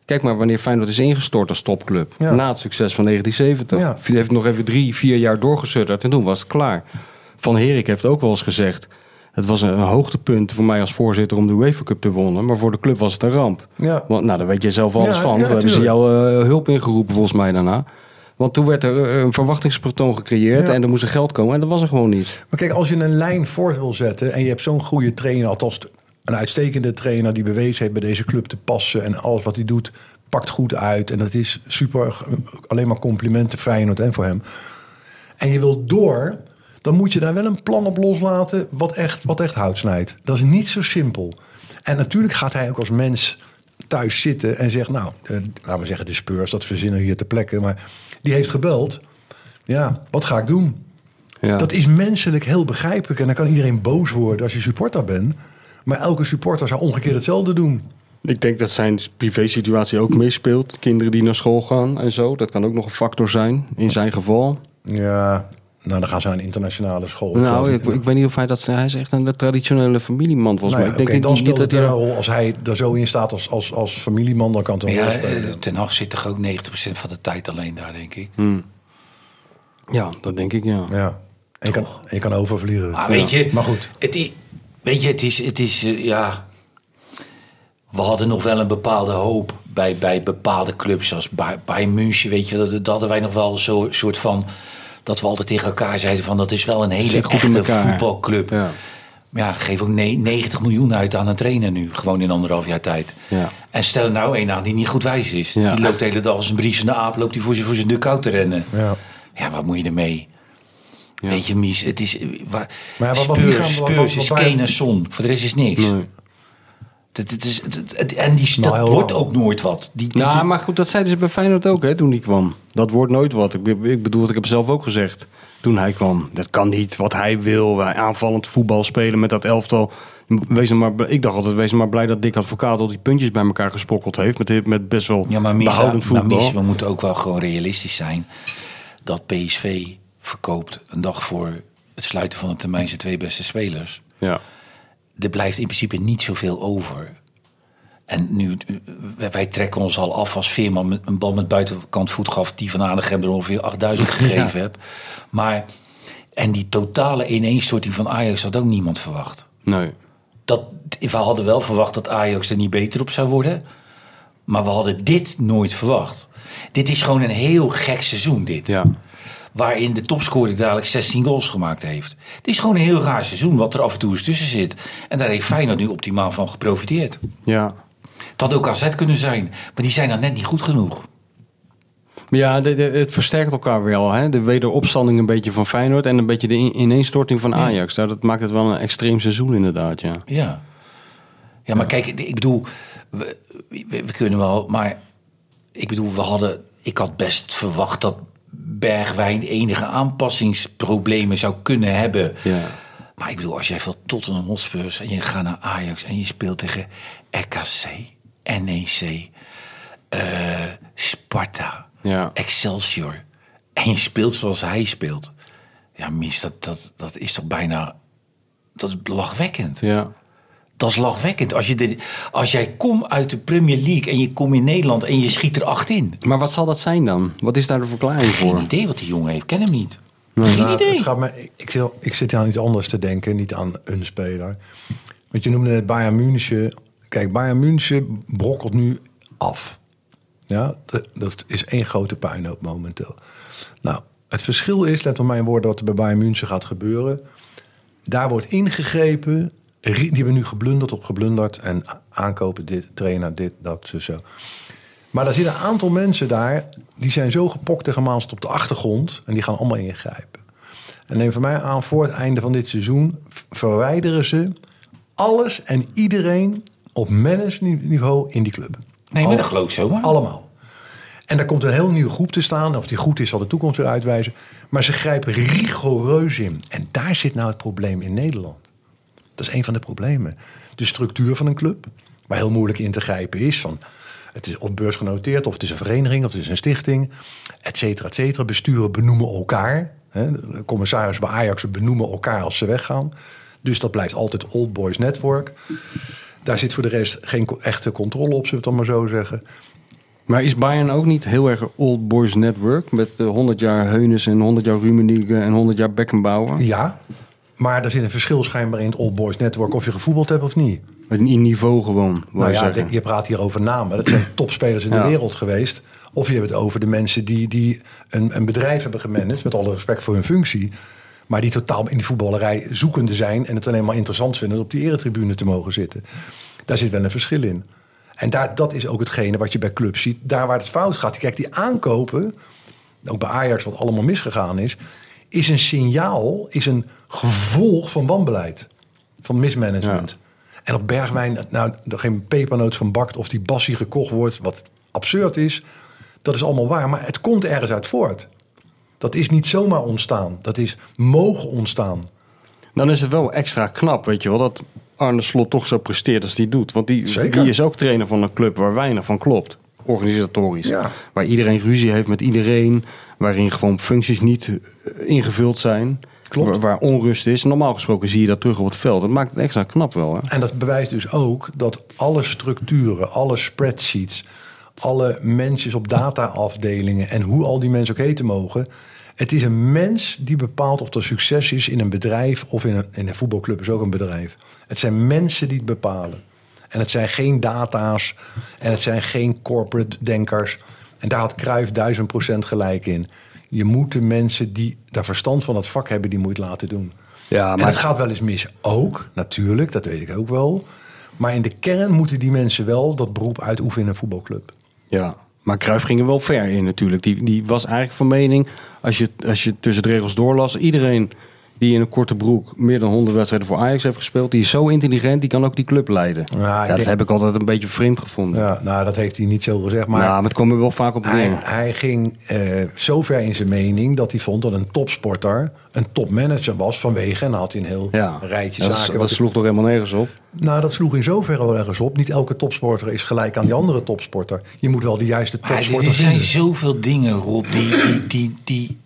S2: Kijk maar wanneer Feyenoord is ingestort als topclub.
S3: Ja.
S2: Na het succes van 1970.
S3: Ja.
S2: Die heeft nog even drie, vier jaar doorgesudderd en toen was het klaar. Van Herik heeft ook wel eens gezegd... Het was een, een hoogtepunt voor mij als voorzitter om de UEFA Cup te wonnen. Maar voor de club was het een ramp.
S3: Ja.
S2: Want, nou, daar weet je zelf alles
S3: Ja,
S2: van.
S3: ja,
S2: Toen hebben ze
S3: tuurlijk.
S2: jouw eh, hulp ingeroepen volgens mij daarna. Want toen werd er eh, een verwachtingspatroon gecreëerd.
S3: Ja.
S2: En er moest er geld komen. En dat was er gewoon niet.
S3: Maar kijk, als je een lijn voort wil zetten en je hebt zo'n goede trainer, althans een uitstekende trainer die bewezen heeft bij deze club te passen en alles wat hij doet pakt goed uit en dat is super, alleen maar complimenten Feyenoord en voor hem. En je wilt door, dan moet je daar wel een plan op loslaten wat echt, wat echt hout snijdt. Dat is niet zo simpel. En natuurlijk gaat hij ook als mens thuis zitten en zegt, nou, eh, laten we zeggen de Spurs, dat verzinnen we hier ter plekke, maar die heeft gebeld. Ja, wat ga ik doen?
S2: Ja.
S3: Dat is menselijk heel begrijpelijk. En dan kan iedereen boos worden als je supporter bent. Maar elke supporter zou ongekeerd hetzelfde doen.
S2: Ik denk dat zijn privésituatie ook meespeelt. Kinderen die naar school gaan en zo. Dat kan ook nog een factor zijn in zijn geval.
S3: Ja. Nou, dan gaan ze naar een internationale school.
S2: nou, ik,
S3: Nou
S2: ik weet niet of hij dat... Hij is echt een traditionele familieman volgens
S3: ja,
S2: mij. Ik denk
S3: oké, dan
S2: niet, niet
S3: speelt
S2: dat
S3: het
S2: hij...
S3: een rol. Als hij er zo in staat als, als, als familieman, dan kan het een
S4: Ja,
S3: rol
S4: eh,
S3: spelen.
S4: Ten Hag zit toch ook 90% van de tijd alleen daar, denk ik.
S2: Ja, dat denk ik, ja.
S3: Ja. En je, kan, en je kan overvliegen.
S4: Maar weet
S3: Ja.
S4: je,
S3: Maar goed.
S4: Het i- weet je, het is, het is eh, ja. We hadden nog wel een bepaalde hoop bij, bij bepaalde clubs als Bay- Bayern München, weet je, dat, dat hadden wij nog wel een soort, soort van dat we altijd tegen elkaar zeiden van dat is wel een hele
S2: Zit goed in
S4: echte
S2: elkaar.
S4: voetbalclub.
S2: Ja.
S4: Maar ja, geef ook ne- 90 miljoen uit aan een trainer nu, gewoon in anderhalf jaar tijd.
S2: Ja.
S4: En stel er nou een aan die niet goed wijs is.
S2: Ja.
S4: Die loopt de hele dag als een briesende aap, loopt hij voor zijn, voor zijn duk uit te rennen.
S3: Ja.
S4: ja, wat moet je ermee? Weet je, Mies, het is... eh, Waar,
S3: Maar ja, wat- wat-
S4: Spurs,
S3: wat- wat-
S4: Spurs
S3: wat- wat-
S4: is
S3: wat-
S4: Kane en Son. Voor de rest is niks.
S2: Nee.
S4: Dat, dat is, dat- dat- en die,
S3: Nou,
S4: dat
S3: heel
S4: wordt
S3: lang.
S4: ook nooit wat. Die, die- die-
S2: Nou, maar goed, dat zeiden ze bij Feyenoord ook, hè, toen hij kwam. Dat wordt nooit wat. Ik, be- ik bedoel, ik heb het zelf ook gezegd toen hij kwam. Dat kan niet, wat hij wil. Wij aanvallend voetbal spelen met dat elftal. Wees er maar, bl- ik dacht altijd, wees er maar blij dat Dick Advocaat al die puntjes bij elkaar gespokkeld heeft. Met, met best wel
S4: ja, maar Mies,
S2: behoudend
S4: maar
S2: voetbal.
S4: Mies, we moeten ook wel gewoon realistisch zijn... dat PSV verkoopt een dag voor het sluiten van de termijn zijn twee beste spelers.
S2: ja.
S4: er blijft in principe niet zoveel over. En nu, eh, wij- wij trekken ons al af als Veerman met- een bal met buitenkant voet gaf... die van Aardigem er ongeveer 8000 gegeven hebt. Maar, en die totale ineenstorting van Ajax had ook niemand verwacht.
S2: Nee.
S4: Dat, we hadden wel verwacht dat Ajax er niet beter op zou worden. Maar we hadden dit nooit verwacht. Dit is gewoon een heel gek seizoen, dit.
S2: Ja.
S4: Waarin de topscorer dadelijk 16 goals gemaakt heeft. Het is gewoon een heel raar seizoen wat er af en toe eens tussen zit. En daar heeft Feyenoord nu optimaal van geprofiteerd.
S2: Ja.
S4: Het had ook AZ kunnen zijn, maar die zijn dan net niet goed genoeg.
S2: Maar Ja, de- de- het versterkt elkaar wel. Hè? De wederopstanding een beetje van Feyenoord en een beetje de in- ineenstorting van Ajax. Nou, dat maakt het wel een extreem seizoen inderdaad, ja.
S4: Ja. Ja, maar kijk, ik bedoel, we, we- we kunnen wel, maar ik bedoel, we hadden, ik had best verwacht dat Bergwijn enige aanpassingsproblemen zou kunnen hebben.
S2: Ja.
S4: Maar ik bedoel, als jij veel tot een Hotspurs en je gaat naar Ajax en je speelt tegen RKC, NEC, E eh, Sparta,
S2: Ja.
S4: Excelsior en je speelt zoals hij speelt. Ja, mis, dat, dat, dat is toch bijna, dat is lachwekkend.
S2: Ja.
S4: Dat is lachwekkend. Als, je de, als jij komt uit de Premier League en je komt in Nederland en je schiet er acht in.
S2: Maar wat zal dat zijn dan? Wat is daar de verklaring voor?
S4: Geen idee wat die jongen heeft. Ken hem niet.
S3: Ja,
S4: Geen
S3: het- het
S4: idee.
S3: gaat me, ik- ik, zit, al- ik zit aan iets anders te denken, niet aan een speler. Want je noemde het Bayern München. Kijk, Bayern München brokkelt nu af. Ja, dat, dat is één grote puinhoop momenteel. Nou, het verschil is, let op mijn woorden, wat er bij Bayern München gaat gebeuren. Daar wordt ingegrepen. Ri- Die hebben nu geblunderd op geblunderd. En a- aankopen dit, trainer dit, dat, zo, zo. Maar er zitten een aantal mensen daar... die zijn zo gepokt en gemaald op de achtergrond... en die gaan allemaal ingrijpen. En neem van mij aan, voor het einde van dit seizoen... v- verwijderen ze alles en iedereen op managementniveau in die club.
S4: Nee, maar
S3: Al-
S4: dat geloof ik zomaar.
S3: Allemaal. En daar komt een heel nieuwe groep te staan. Of die goed is, zal de toekomst weer uitwijzen. Maar ze grijpen rigoureus in. En daar zit nou het probleem in Nederland. Dat is een van de problemen. De structuur van een club, waar heel moeilijk in te grijpen is. Van, het is op beurs genoteerd, of het is een vereniging, of het is een stichting, et cetera, et cetera. Besturen benoemen elkaar. Hè. De commissaris bij Ajax benoemen elkaar als ze weggaan. Dus dat blijft altijd Old Boys Network. Daar zit voor de rest geen co- echte controle op, zullen we het dan maar zo zeggen.
S2: Maar is Bayern ook niet heel erg Old Boys Network? Met eh, 100 jaar Heunes en 100 jaar Rummenigge en 100 jaar Beckenbauer?
S3: Ja, Maar daar zit een verschil schijnbaar in het Old Boys Network of je gevoetbald hebt of niet.
S2: In niveau gewoon.
S3: Nou
S2: wou je
S3: ja,
S2: zeggen.
S3: de- je praat hier over namen. Dat zijn topspelers in de
S2: Ja.
S3: wereld geweest. Of je hebt het over de mensen die, die een, een bedrijf hebben gemanaged... met alle respect voor hun functie... maar die totaal in die voetballerij zoekende zijn... en het alleen maar interessant vinden om op die eretribune te mogen zitten. Daar zit wel een verschil in. En daar, dat is ook hetgene wat je bij clubs ziet. Daar waar het fout gaat. Kijk, die aankopen, ook bij Ajax wat allemaal misgegaan is... is een signaal, is een gevolg van wanbeleid. Van mismanagement. En op Bergwijn, nou, er geen pepernoot van bakt of die bassie gekocht wordt, wat absurd is. Dat is allemaal waar, maar het komt ergens uit voort. Dat is niet zomaar ontstaan. Dat is mogen ontstaan.
S2: Dan is het wel extra knap, weet je wel, dat Arne Slot toch zo presteert als die doet. Want die,
S3: Zeker.
S2: die is ook trainer van een club waar weinig van klopt, organisatorisch.
S3: Ja.
S2: Waar iedereen ruzie heeft met iedereen, waarin gewoon functies niet eh, ingevuld zijn.
S3: Klopt.
S2: Waar, waar onrust is. Normaal gesproken zie je dat terug op het veld. Dat maakt het extra knap wel, hè?
S3: En dat bewijst dus ook dat alle structuren, alle spreadsheets, alle mensen op dataafdelingen en hoe al die mensen ook heten mogen. Het is een mens die bepaalt of er succes is in een bedrijf of in een, in een voetbalclub is ook een bedrijf. Het zijn mensen die het bepalen. En het zijn geen data's en het zijn geen corporate denkers. En daar had Cruijff duizend procent gelijk in. Je moet de mensen die daar verstand van het vak hebben, die moet je het laten doen.
S2: Ja,
S3: En
S2: maar-
S3: het gaat wel eens mis ook, natuurlijk, dat weet ik ook wel. Maar in de kern moeten die mensen wel dat beroep uitoefenen in een voetbalclub.
S2: Ja. Maar Cruijff ging er wel ver in natuurlijk. Die, die was eigenlijk van mening, als je, als je tussen de regels doorlas... iedereen die in een korte broek meer dan 100 wedstrijden voor Ajax heeft gespeeld... die is zo intelligent, die kan ook die club leiden. Ja,
S3: ik
S2: dat
S3: denk-
S2: heb ik altijd een beetje vreemd gevonden. Ja, Nou,
S3: Ja, nou, dat heeft hij niet zo gezegd.
S2: maar,
S3: Maar
S2: het kwam er wel vaak op
S3: hij,
S2: neer.
S3: hij ging eh, zo ver in zijn mening dat hij vond dat een topsporter een topmanager was vanwege... en dan had hij een heel
S2: Ja,
S3: rijtje
S2: dat,
S3: zaken.
S2: dat
S3: wat-
S2: sloeg toch helemaal nergens op.
S3: Nou, dat sloeg in zoverre wel ergens op. Niet elke topsporter is gelijk aan die andere topsporter. Je moet wel de juiste
S4: Maar er
S3: topsporter
S4: zijn
S3: vinden.
S4: zoveel dingen, Rob, die, die, die, die-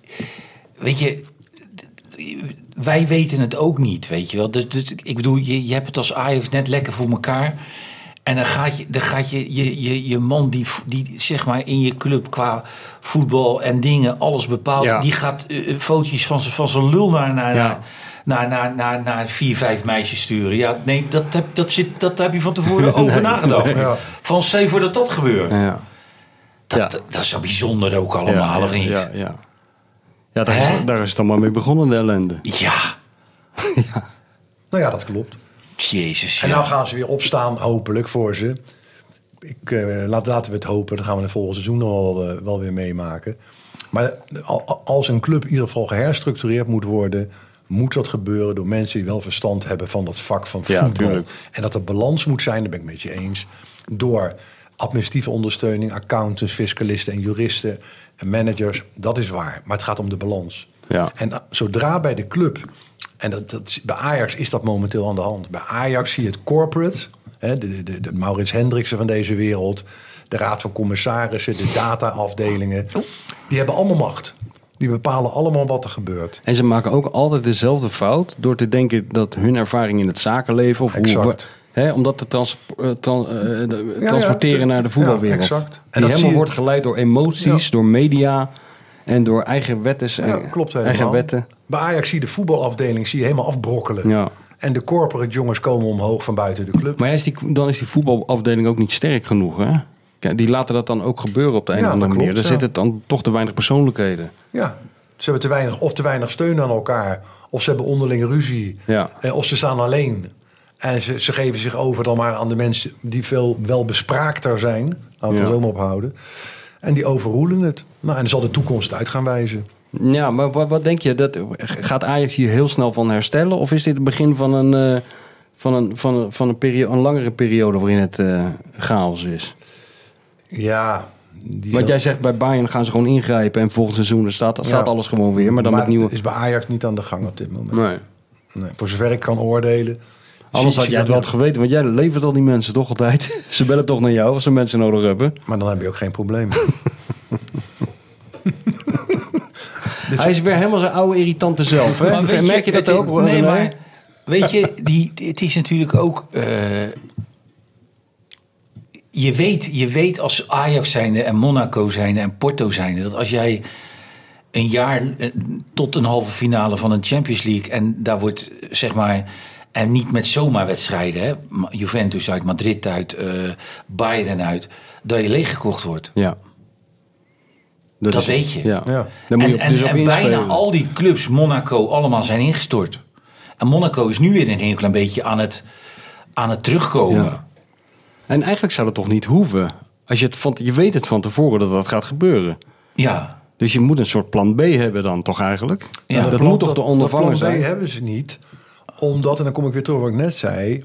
S4: Weet je, wij weten het ook niet, weet je wel. Dus, dus, ik bedoel, je, je hebt het als Ajax net lekker voor elkaar. En dan gaat je, dan gaat je, je, je, je man die, v- die zeg maar in je club qua voetbal en dingen alles bepaalt...
S2: Ja.
S4: die gaat eh, foto's van zijn van zijn lul naar, naar,
S2: Ja.
S4: naar, naar, naar, naar vier, vijf meisjes sturen. Ja, nee, dat heb, dat zit, dat heb je van tevoren over nagedacht.
S3: Ja.
S4: Van stel je voor dat dat gebeurt.
S2: Ja,
S4: Dat,
S2: Ja.
S4: dat, dat is zo bijzonder ook allemaal,
S2: ja,
S4: of niet?
S2: Ja,
S4: Ja.
S2: ja. ja daar, is,
S4: Hè?
S2: daar is het allemaal mee begonnen, de ellende.
S3: Nou ja, dat klopt.
S4: Jezus.
S3: En
S4: ja.
S3: nou gaan ze weer opstaan, hopelijk, voor ze. Ik, eh, laat, laten we het hopen. Dan gaan we het volgend seizoen nog wel, eh, wel weer meemaken. Maar al- als een club in ieder geval geherstructureerd moet worden... moet dat gebeuren door mensen die wel verstand hebben van dat vak van
S2: Ja,
S3: voetbal.
S2: tuurlijk.
S3: En dat er balans moet zijn, daar ben ik met je eens. Door administratieve ondersteuning, accountants, fiscalisten en juristen en managers. Dat is waar. Maar het gaat om de balans.
S2: Ja.
S3: En a- zodra bij de club, en dat, dat, is- bij Ajax is dat momenteel aan de hand. Bij Ajax zie je het corporate, hè, de, de, de Maurits Hendriksen van deze wereld, de raad van commissarissen, de dataafdelingen. Die hebben allemaal macht. Die bepalen allemaal wat er gebeurt.
S2: En ze maken ook altijd dezelfde fout door te denken dat hun ervaring in het zakenleven of hoe,
S3: Exact.
S2: hè, om dat te trans- eh, tran- eh, de-
S3: ja,
S2: transporteren
S3: te-
S2: naar de voetbalwereld.
S3: ja, exact.
S2: Die
S3: En dat zie
S2: helemaal
S3: je-
S2: wordt geleid door emoties,
S3: Ja.
S2: door media en door eigen wetten.
S3: Ja, klopt helemaal.
S2: eigen wetten.
S3: Bij Ajax zie je de voetbalafdeling zie je helemaal afbrokkelen.
S2: Ja.
S3: En de corporate jongens komen omhoog van buiten de club.
S2: Maar ja, is die, dan is die voetbalafdeling ook niet sterk genoeg, hè? Kijk, Die laten dat dan ook gebeuren op de een
S3: Ja,
S2: of andere
S3: dat
S2: manier. Daar
S3: klopt, ja.
S2: zitten dan toch te weinig persoonlijkheden.
S3: Ja, ze hebben te weinig, of te weinig steun aan elkaar. Of ze hebben onderling ruzie.
S2: Ja.
S3: Eh, Of ze staan alleen. En ze, ze geven zich over dan maar aan de mensen die veel welbespraakter zijn. Laten we
S2: Ja.
S3: het zo maar ophouden. En die overroelen het. Nou, en dan zal de toekomst uit gaan wijzen.
S2: Ja, maar wat, wat denk je? Dat, gaat Ajax hier heel snel van herstellen? Of is dit het begin van een, eh, van een, van een, van een, perio- een langere periode waarin het eh, chaos is?
S3: Ja. die
S2: Want
S3: zal-
S2: jij zegt bij Bayern gaan ze gewoon ingrijpen en volgend seizoen er staat, staat
S3: Ja.
S2: alles gewoon weer. Maar dan met nieuwe...
S3: is bij Ajax niet aan de gang op dit moment.
S2: Nee.
S3: Nee, voor zover ik kan oordelen.
S2: Anders
S3: zie-
S2: had
S3: zie
S2: jij het
S3: dat
S2: wel
S3: niet.
S2: geweten, want jij levert al die mensen toch altijd. ze bellen toch naar jou als ze mensen nodig hebben.
S3: Maar dan heb je ook geen probleem.
S2: Hij is weer helemaal zijn oude irritante zelf. Hè?
S4: Maar weet
S2: Merk je dat
S4: het-
S2: ook?
S4: Nee,
S2: René?
S4: maar weet je, die, het is natuurlijk ook... eh, je, weet, je weet als Ajax zijnde en Monaco zijnde en Porto zijnde... dat als jij een jaar eh, tot een halve finale van een Champions League. En daar wordt eh, zeg maar. En niet met zomaar wedstrijden. Hè? Ma- Juventus uit, Madrid uit, eh Bayern uit. Dat je leeggekocht wordt.
S2: Ja.
S4: Dat
S2: is-
S4: weet je.
S2: Ja.
S3: Ja.
S2: Daar moet je
S4: en
S2: op- dus
S4: en,
S2: op
S4: en bijna
S2: inspelen.
S4: al die clubs, Monaco, allemaal zijn ingestort. En Monaco is nu weer een heel klein beetje aan het, aan het terugkomen.
S2: Ja. En eigenlijk zou dat toch niet hoeven? Als je, het van, je weet het van tevoren dat dat gaat gebeuren.
S4: ja.
S2: Dus je moet een soort plan B hebben dan toch eigenlijk?
S4: Ja,
S2: dat,
S4: dat
S2: moet toch de ondervanger
S3: Dat plan B
S2: zijn?
S3: hebben ze niet. Omdat, en dan kom ik weer terug op wat ik net zei.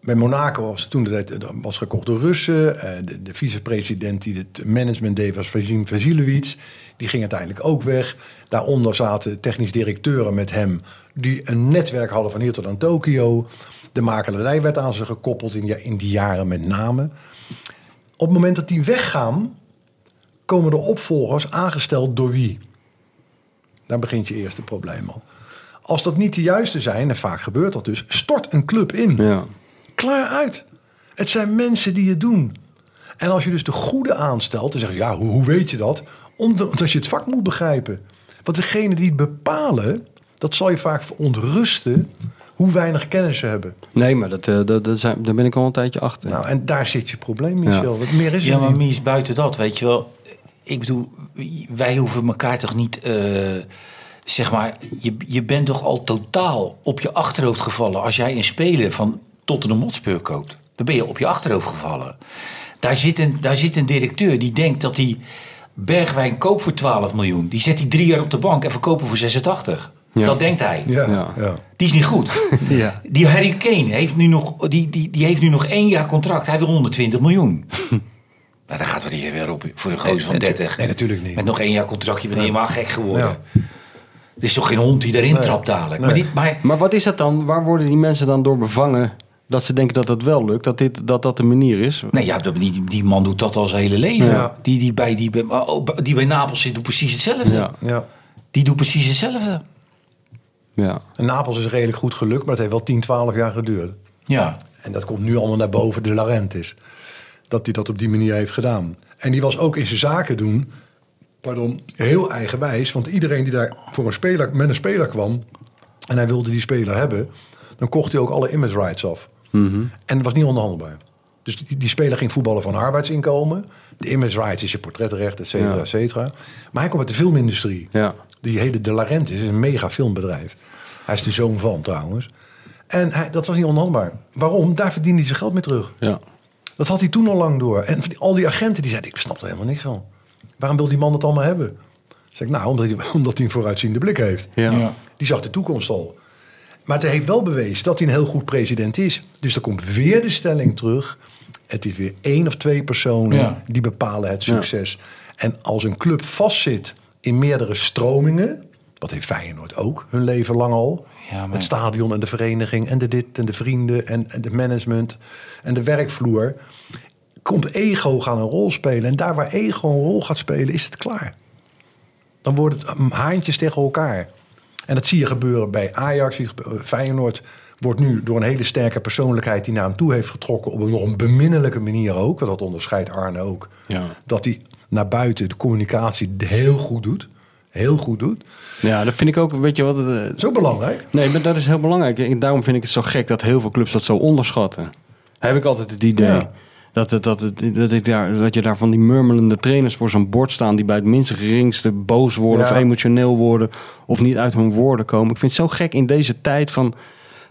S3: Bij Monaco was toen de tijd, dat was gekocht door Russen. Eh, De, de vicepresident die het management deed was Vasim Vasiljevic. Die ging uiteindelijk ook weg. Daaronder zaten technisch directeuren met hem. Die een netwerk hadden van hier tot aan Tokio. De makelaarij werd aan ze gekoppeld in, ja- in die jaren met name. Op het moment dat die weggaan, komen de opvolgers aangesteld door wie? Dan begint je eerste probleem al. Als dat niet de juiste zijn, en vaak gebeurt dat dus, stort een club in.
S2: Ja.
S3: Klaar uit. Het zijn mensen die het doen. En als je dus de goede aanstelt, dan zeg je, ja, hoe, hoe weet je dat? Omdat omdat je het vak moet begrijpen. Want degene die het bepalen, dat zal je vaak verontrusten hoe weinig kennis ze hebben.
S2: Nee, maar dat, eh, dat, dat zijn, daar ben ik al een tijdje achter.
S3: Nou, en daar zit je probleem, Michel.
S2: Ja.
S3: Wat meer is
S4: Ja,
S3: er
S4: maar
S3: niet.
S4: Mies, buiten dat, weet je wel. Ik bedoel, wij hoeven elkaar toch niet. eh, zeg maar, je, je bent toch al totaal op je achterhoofd gevallen. als jij een speler van Tottenham Hotspur koopt. Dan ben je op je achterhoofd gevallen. Daar zit een, daar zit een directeur die denkt dat hij. Bergwijn koopt voor 12 miljoen. Die zet hij drie jaar op de bank en verkopen voor 86.
S2: Ja.
S4: Dat denkt hij.
S3: Ja,
S2: Ja.
S3: ja.
S4: Die is niet goed.
S2: Ja.
S4: Die Harry Kane heeft nu, nog, die, die, die heeft nu nog één jaar contract. Hij wil 120 miljoen. nou, dan gaat er hier weer op voor een gozer van 30.
S3: nee, natuurlijk niet.
S4: Met nog één jaar contractje ben je helemaal gek geworden. Er is toch geen hond die daarin trapt dadelijk. Maar, dit, maar
S2: Maar wat is dat dan? Waar worden die mensen dan door bevangen dat ze denken dat dat wel lukt? Dat dit, dat, dat de manier is?
S4: nee, ja, dat- die, die man doet dat al zijn hele leven.
S3: Ja.
S4: Die, die, bij, die, bij, maar ook die bij Napels zit, doet precies hetzelfde.
S2: Ja.
S3: Ja.
S4: Die doet precies hetzelfde.
S2: Ja.
S3: En Napels is redelijk goed gelukt, maar het heeft wel 10, 12 jaar geduurd.
S4: Ja.
S3: En dat komt nu allemaal naar boven, de Laurentiis. Dat hij dat op die manier heeft gedaan. En die was ook in zijn zaken doen, pardon, heel eigenwijs. Want iedereen die daar voor een speler, met een speler kwam... en hij wilde die speler hebben... dan kocht hij ook alle image rights af.
S2: Mhm.
S3: En dat was niet onderhandelbaar. Dus die, die speler ging voetballen van arbeidsinkomen. De image rights is je portretrecht, et cetera,
S2: Ja.
S3: et cetera. Maar hij komt uit de filmindustrie.
S2: Ja.
S3: Die hele De Laurentiis is een mega filmbedrijf. Hij is de zoon van trouwens. En hij, dat was niet onhandelbaar. Waarom? Daar verdiende hij zijn geld mee terug.
S2: Ja.
S3: Dat had hij toen al lang door. En al die agenten die zeiden, ik snap er helemaal niks van. Waarom wil die man het allemaal hebben? Zeg ik, nou, omdat hij, omdat hij een vooruitziende blik heeft.
S2: Ja.
S4: Ja.
S3: Die zag de toekomst al. Maar hij heeft wel bewezen dat hij een heel goed president is. Dus er komt weer de stelling terug. Het is weer één of twee personen
S4: Ja.
S3: die bepalen het succes. En als een club vastzit in meerdere stromingen... dat heeft Feyenoord ook hun leven lang al.
S4: Ja, maar-
S3: Het stadion en de vereniging en de dit en de vrienden en, en de management en de werkvloer. Komt ego gaan een rol spelen. En daar waar ego een rol gaat spelen, is het klaar. Dan wordt het mm, haantjes tegen elkaar. En dat zie je gebeuren bij Ajax. zie je gebeuren- Feyenoord wordt nu door een hele sterke persoonlijkheid die naar hem toe heeft getrokken. op een nog een beminnelijke manier ook. Want dat onderscheidt Arne ook.
S2: Ja.
S3: Dat hij naar buiten de communicatie heel goed doet. Heel goed doet.
S2: ja, dat vind ik ook, weet je wat... het, eh,
S3: Dat is ook belangrijk.
S2: Nee, maar dat is heel belangrijk. En daarom vind ik het zo gek dat heel veel clubs dat zo onderschatten. Heb ik altijd het idee.
S3: Ja.
S2: Dat, het, dat, het, dat, ik daar, dat je daar van die murmelende trainers voor zo'n bord staan... die bij het minste geringste boos worden
S3: Ja.
S2: of emotioneel worden... of niet uit hun woorden komen. Ik vind het zo gek in deze tijd van,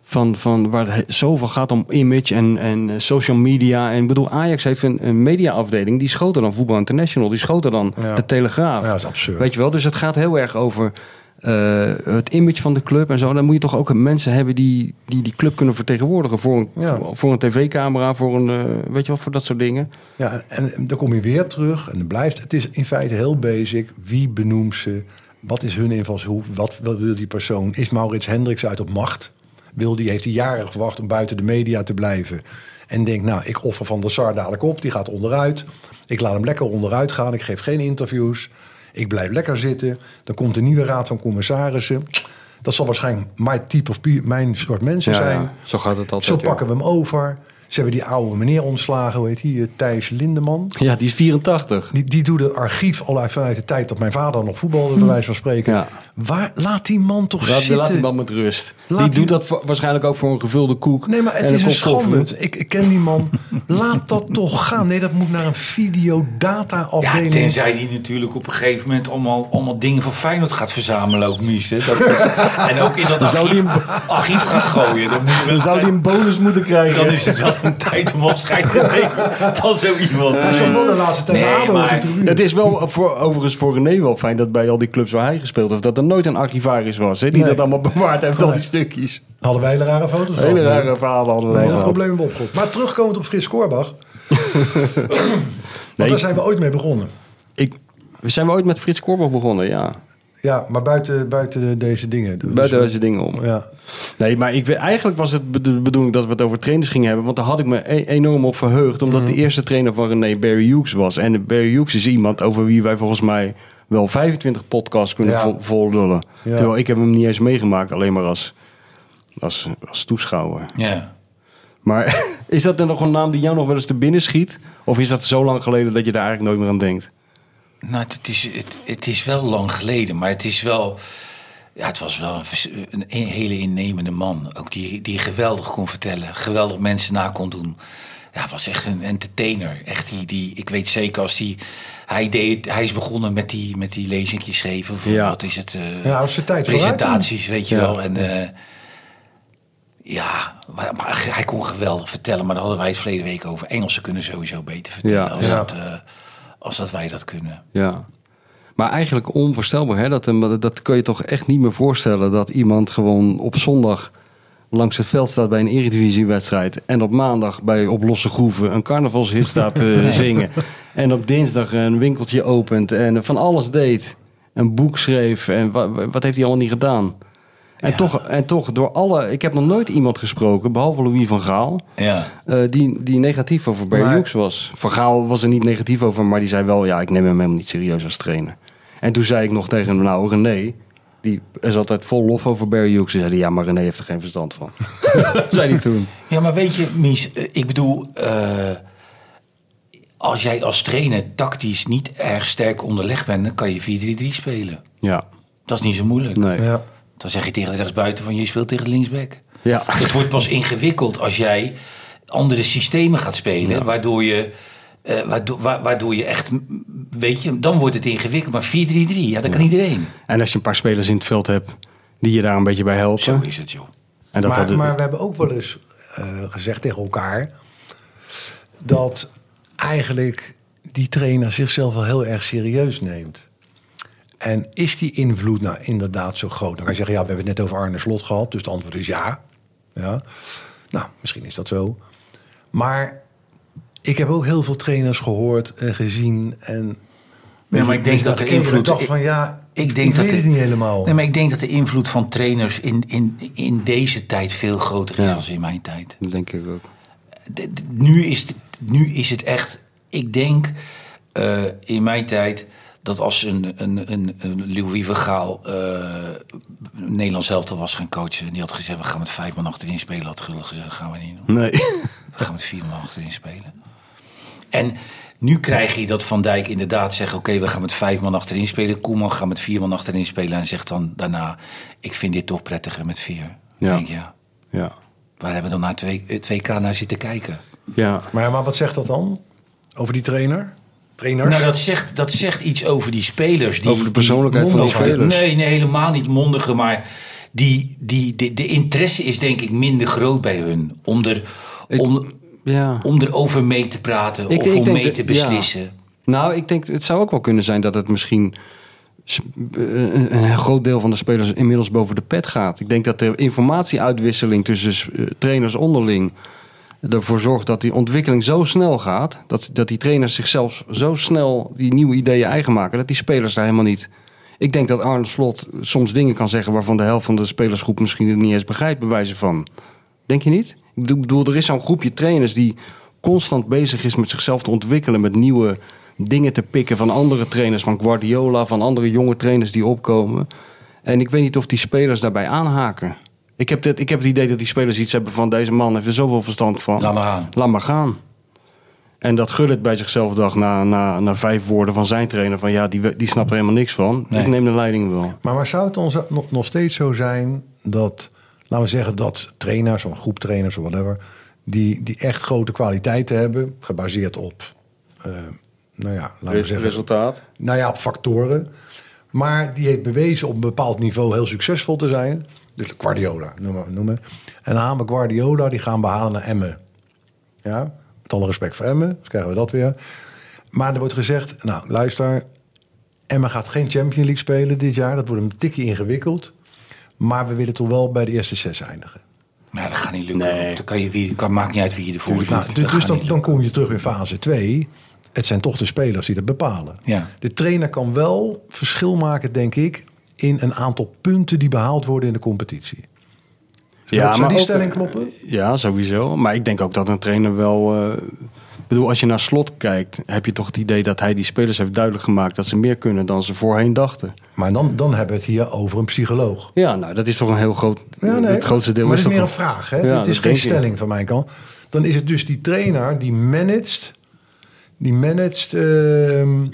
S2: van, van waar het he- zoveel gaat om image en, en eh, social media. En ik bedoel, Ajax heeft een, een mediaafdeling... die schoten dan Voetbal International, die schoten dan
S3: Ja.
S2: de Telegraaf.
S3: Ja, dat is absurd.
S2: Weet je wel, dus het gaat heel erg over eh, het image van de club en zo. Dan moet je toch ook mensen hebben die die, die club kunnen vertegenwoordigen. Voor een,
S3: Ja.
S2: voor, voor een tv-camera, voor een, eh, weet je wel, voor dat soort dingen.
S3: Ja, en dan kom je weer terug en dan blijft het is in feite heel basic. Wie benoemt ze? Wat is hun invalshoek? Wat, wat wil die persoon? Is Maurits Hendricks uit op macht? Wil die, heeft hij jaren gewacht om buiten de media te blijven? En denkt, nou, ik offer Van der Sar dadelijk op. Die gaat onderuit. Ik laat hem lekker onderuit gaan. Ik geef geen interviews. Ik blijf lekker zitten. Dan komt de nieuwe raad van commissarissen. Dat zal waarschijnlijk my type of pe- mijn soort mensen
S2: Ja,
S3: zijn.
S2: ja, zo gaat het altijd,
S3: Zo
S2: ja.
S3: pakken we hem over. Ze hebben die oude meneer ontslagen, hoe heet die? eh, Thijs Lindeman.
S2: Ja, die is 84.
S3: Die, die doet het archief al uit- vanuit de tijd dat mijn vader nog voetbalde, bij wijze van spreken.
S2: Hm. Ja.
S3: Waar, laat die man toch
S2: Laat,
S3: zitten.
S2: laat die man met rust.
S3: Laat
S2: die
S3: die-
S2: doet dat voor- waarschijnlijk ook voor een gevulde koek.
S3: Nee, maar het
S2: en
S3: is een
S2: kop koffie.
S3: schande. Ik, ik ken die man. Laat dat toch gaan. Nee, dat moet naar een
S4: Ja,
S3: videodata-afdeling.
S4: tenzij die natuurlijk op een gegeven moment allemaal, allemaal dingen van Feyenoord gaat verzamelen ook, Mies. hè. Dat, dat- en ook in dat
S2: zou die
S4: archief,
S2: hem-
S4: archief gaat gooien. Dan, moet je wel
S2: Dan zou die een bonus moeten
S4: tijd-
S2: krijgen.
S4: dan is het wel een tijd om afscheid te nemen van zo iemand.
S3: Hij zat wel de laatste tijd
S4: Nee,
S3: nee, op de
S4: maar-
S3: tribune.
S2: Het is wel voor, overigens voor René wel fijn dat bij al die clubs waar hij gespeeld heeft... dat er nooit een archivaris was hè, die
S3: Nee.
S2: dat allemaal bewaard heeft, al
S3: Nee.
S2: die stukjes.
S3: Hadden wij hele rare foto's
S2: Hele
S3: van.
S2: rare verhalen hadden we
S3: Nee,
S2: wel
S3: dat
S2: gehad.
S3: probleem hebben we opgelost. Maar terugkomend op Frits Korbach.
S2: Nee,
S3: Want daar zijn we ooit mee begonnen.
S2: ik, zijn we ooit met Frits Korbach begonnen, ja.
S3: Ja, maar buiten, buiten deze dingen. Dus-
S2: Buiten deze dingen om.
S3: Ja.
S2: Nee, maar ik, weet- eigenlijk was het be- de bedoeling dat we het over trainers gingen hebben. Want daar had ik me e- enorm op verheugd. Omdat de eerste trainer van René Barry Hughes was. En Barry Hughes is iemand over wie wij volgens mij wel 25 podcasts kunnen
S3: Ja.
S2: vo- voldullen.
S3: Ja.
S2: Terwijl ik heb hem niet eens meegemaakt. Alleen maar als, als, als toeschouwer.
S4: Ja.
S2: Maar is dat dan nog een naam die jou nog wel eens te binnen schiet? Of is dat zo lang geleden dat je daar eigenlijk nooit meer aan denkt?
S4: Nou, het is, het, het is wel lang geleden, maar het is wel. Ja, het was wel een, vers- een, een hele innemende man. Ook die, die geweldig kon vertellen, geweldig mensen na kon doen. Ja, was echt een entertainer. Echt die, die, ik weet zeker als die, hij. Deed, hij is begonnen met die, met die lezingjes geven. Of
S2: Ja.
S4: Wat is het? eh,
S3: Ja, was de tijd vooruit,
S4: Presentaties, weet je
S2: Ja.
S4: wel. En, eh, ja, maar, maar hij kon geweldig vertellen. Maar daar hadden wij het verleden week over. Engelsen kunnen sowieso beter vertellen
S2: Ja.
S4: als,
S3: Ja.
S4: Dat, eh, als dat wij dat kunnen.
S2: Ja. Maar eigenlijk onvoorstelbaar, hè? Dat, een- dat kun je toch echt niet meer voorstellen dat iemand gewoon op zondag langs het veld staat bij een eredivisiewedstrijd en op maandag bij op losse groeven een carnavalshit staat te zingen en op dinsdag een winkeltje opent en van alles deed, een boek schreef en wa- wa- wat heeft hij allemaal niet gedaan? En,
S4: Ja.
S2: toch, en toch door alle, ik heb nog nooit iemand gesproken behalve Louis van Gaal.
S4: Ja.
S2: Eh, die, die negatief over Barry
S3: Maar-
S2: Hughes was. Van Gaal was er niet negatief over, maar die zei wel... ja, ik neem hem helemaal niet serieus als trainer. En toen zei ik nog tegen hem, nou René... die is altijd vol lof over Barry Hughes. Ze zei hij, ja, maar René heeft er geen verstand van. zei hij toen.
S4: Ja, maar weet je, Mies, eh, ik bedoel, eh, als jij als trainer tactisch niet erg sterk onderlegd bent, dan kan je 4-3-3 spelen.
S2: Ja,
S4: Dat is niet zo moeilijk.
S2: nee. Ja.
S3: Ja.
S4: Dan zeg je tegen de rechtsbuiten van je speelt tegen de linksback.
S2: Ja.
S4: Het wordt pas ingewikkeld als jij andere systemen gaat spelen, waardoor je. eh, waardoor, wa- waardoor je echt, mm, weet je, dan wordt het ingewikkeld. Maar 4-3-3, ja, dat kan iedereen.
S2: En als je een paar spelers in het veld hebt... die je daar een beetje bij helpen.
S4: Zo is het, joh.
S2: En dat
S3: maar,
S2: hadden-
S3: maar we hebben ook wel eens eh, gezegd tegen elkaar dat eigenlijk die trainer zichzelf wel heel erg serieus neemt. En is die invloed nou inderdaad zo groot? Dan kan je zeggen, ja, we hebben het net over Arne Slot gehad, dus het antwoord is ja. ja. Nou, misschien is dat zo. Maar ik heb ook heel veel trainers gehoord en gezien. En
S4: Ja, maar ik denk
S3: mensen
S4: dat de
S3: keken en
S4: invloed-
S3: dacht
S4: ik-
S3: van ja,
S4: Ik denk dat
S3: weet
S4: de-
S3: het niet helemaal.
S4: Nee, maar ik denk dat de invloed van trainers in, in, in deze tijd veel groter is
S2: Ja.
S4: dan in mijn tijd.
S2: Dat denk ik ook.
S4: D- d- Nu is, het, nu is het echt. Ik denk eh, in mijn tijd dat als een, een, een, een Louis van Gaal eh, Nederlands elftal was gaan coachen en die had gezegd: we gaan met vijf man achterin spelen, had Gullit gezegd: dat gaan we niet doen.
S2: Nee.
S4: We gaan met vier man achterin spelen. En nu krijg je dat Van Dijk inderdaad zegt... oké, we gaan met vijf man achterin spelen. Koeman gaat met vier man achterin spelen. En zegt dan daarna, ik vind dit toch prettiger met vier.
S2: Ja.
S4: Denk je, ja,
S2: ja.
S4: waar hebben we dan naar twee- het WK naar zitten kijken?
S2: Ja.
S3: Maar, maar wat zegt dat dan over die trainer? Trainers?
S4: Nou, dat zegt, dat zegt iets over die spelers. Die,
S2: Over de persoonlijkheid van die
S4: mondige-
S2: spelers.
S4: Nee, nee, helemaal niet mondige, maar die, die, de, de interesse is denk ik minder groot bij hun. Om, er,
S2: Ik-
S4: om,
S2: ja.
S4: om erover mee te praten
S2: Ik-
S4: eh, of
S2: ik
S4: om
S2: denk
S4: mee
S2: dat-
S4: te beslissen.
S2: ja. Nou, ik denk, het zou ook wel kunnen zijn dat het misschien s- eh, een een groot deel van de spelers inmiddels boven de pet gaat. Ik denk dat de informatieuitwisseling tussen s- eh, trainers onderling ervoor zorgt dat die ontwikkeling zo snel gaat, dat, dat die trainers zichzelf zo snel die nieuwe ideeën eigen maken, dat die spelers daar helemaal niet. Ik denk dat Arne Slot soms dingen kan zeggen waarvan de helft van de spelersgroep misschien het niet eens begrijpt, bij wijze van. Denk je niet? Ik bedoel- bedoel, er is zo'n groepje trainers die constant bezig is met zichzelf te ontwikkelen, met nieuwe dingen te pikken van andere trainers, van Guardiola, van andere jonge trainers die opkomen. En ik weet niet of die spelers daarbij aanhaken. Ik heb, dit, ik heb het idee dat die spelers iets hebben van... deze man heeft er zoveel verstand van.
S4: Laat maar gaan.
S2: Laat maar gaan. En dat Gullit bij zichzelf dacht na, na, na vijf woorden van zijn trainer... van ja, die, we- die snapt er helemaal niks van.
S4: Nee.
S2: Ik neem de leiding wel.
S3: Maar, maar zou het ons nog, nog steeds zo zijn dat, laten we zeggen, dat trainers of groep trainers of whatever, die, die echt grote kwaliteiten hebben, gebaseerd op, eh, nou ja, laten we zeggen,
S2: Resultaat.
S3: nou ja, op factoren. Maar die heeft bewezen op een bepaald niveau heel succesvol te zijn. Dus Guardiola, noem maar. Noem maar. En dan gaan we Guardiola, die gaan we halen naar Emmen. Ja, met alle respect voor Emmen, dus krijgen we dat weer. Maar er wordt gezegd, nou luister, Emmen gaat geen Champions League spelen dit jaar. Dat wordt een tikje ingewikkeld. Maar we willen toch wel bij de eerste zes eindigen.
S4: Maar Nou, dat gaat niet lukken.
S2: Nee.
S4: Dan kan je wie, kan, maakt niet uit wie je ervoor zit.
S3: Nou,
S4: Dat
S3: dus
S4: gaat
S3: dus dan,
S4: niet
S3: dan kom je terug in fase 2. Het zijn toch de spelers die dat bepalen.
S4: Ja.
S3: De trainer kan wel verschil maken, denk ik, in een aantal punten die behaald worden in de competitie. Zou- zou die stelling
S2: eh,
S3: kloppen?
S2: Ja, sowieso. Maar ik denk ook dat een trainer wel... eh, ik bedoel, als je naar Slot kijkt... heb je toch het idee dat hij die spelers heeft duidelijk gemaakt... dat ze meer kunnen dan ze voorheen dachten.
S3: Maar dan, dan hebben we het hier over een psycholoog.
S2: Ja, nou, dat is toch een heel groot...
S3: Ja, nee,
S2: het grootste deel
S3: maar
S2: is
S3: het
S2: toch...
S3: is meer een
S2: wel-
S3: vraag. Hè?
S2: Ja,
S3: het
S2: dat
S3: is geen
S2: denk ik.
S3: stelling van mijn kant. Dan is het dus die trainer die managt, die managt ehm,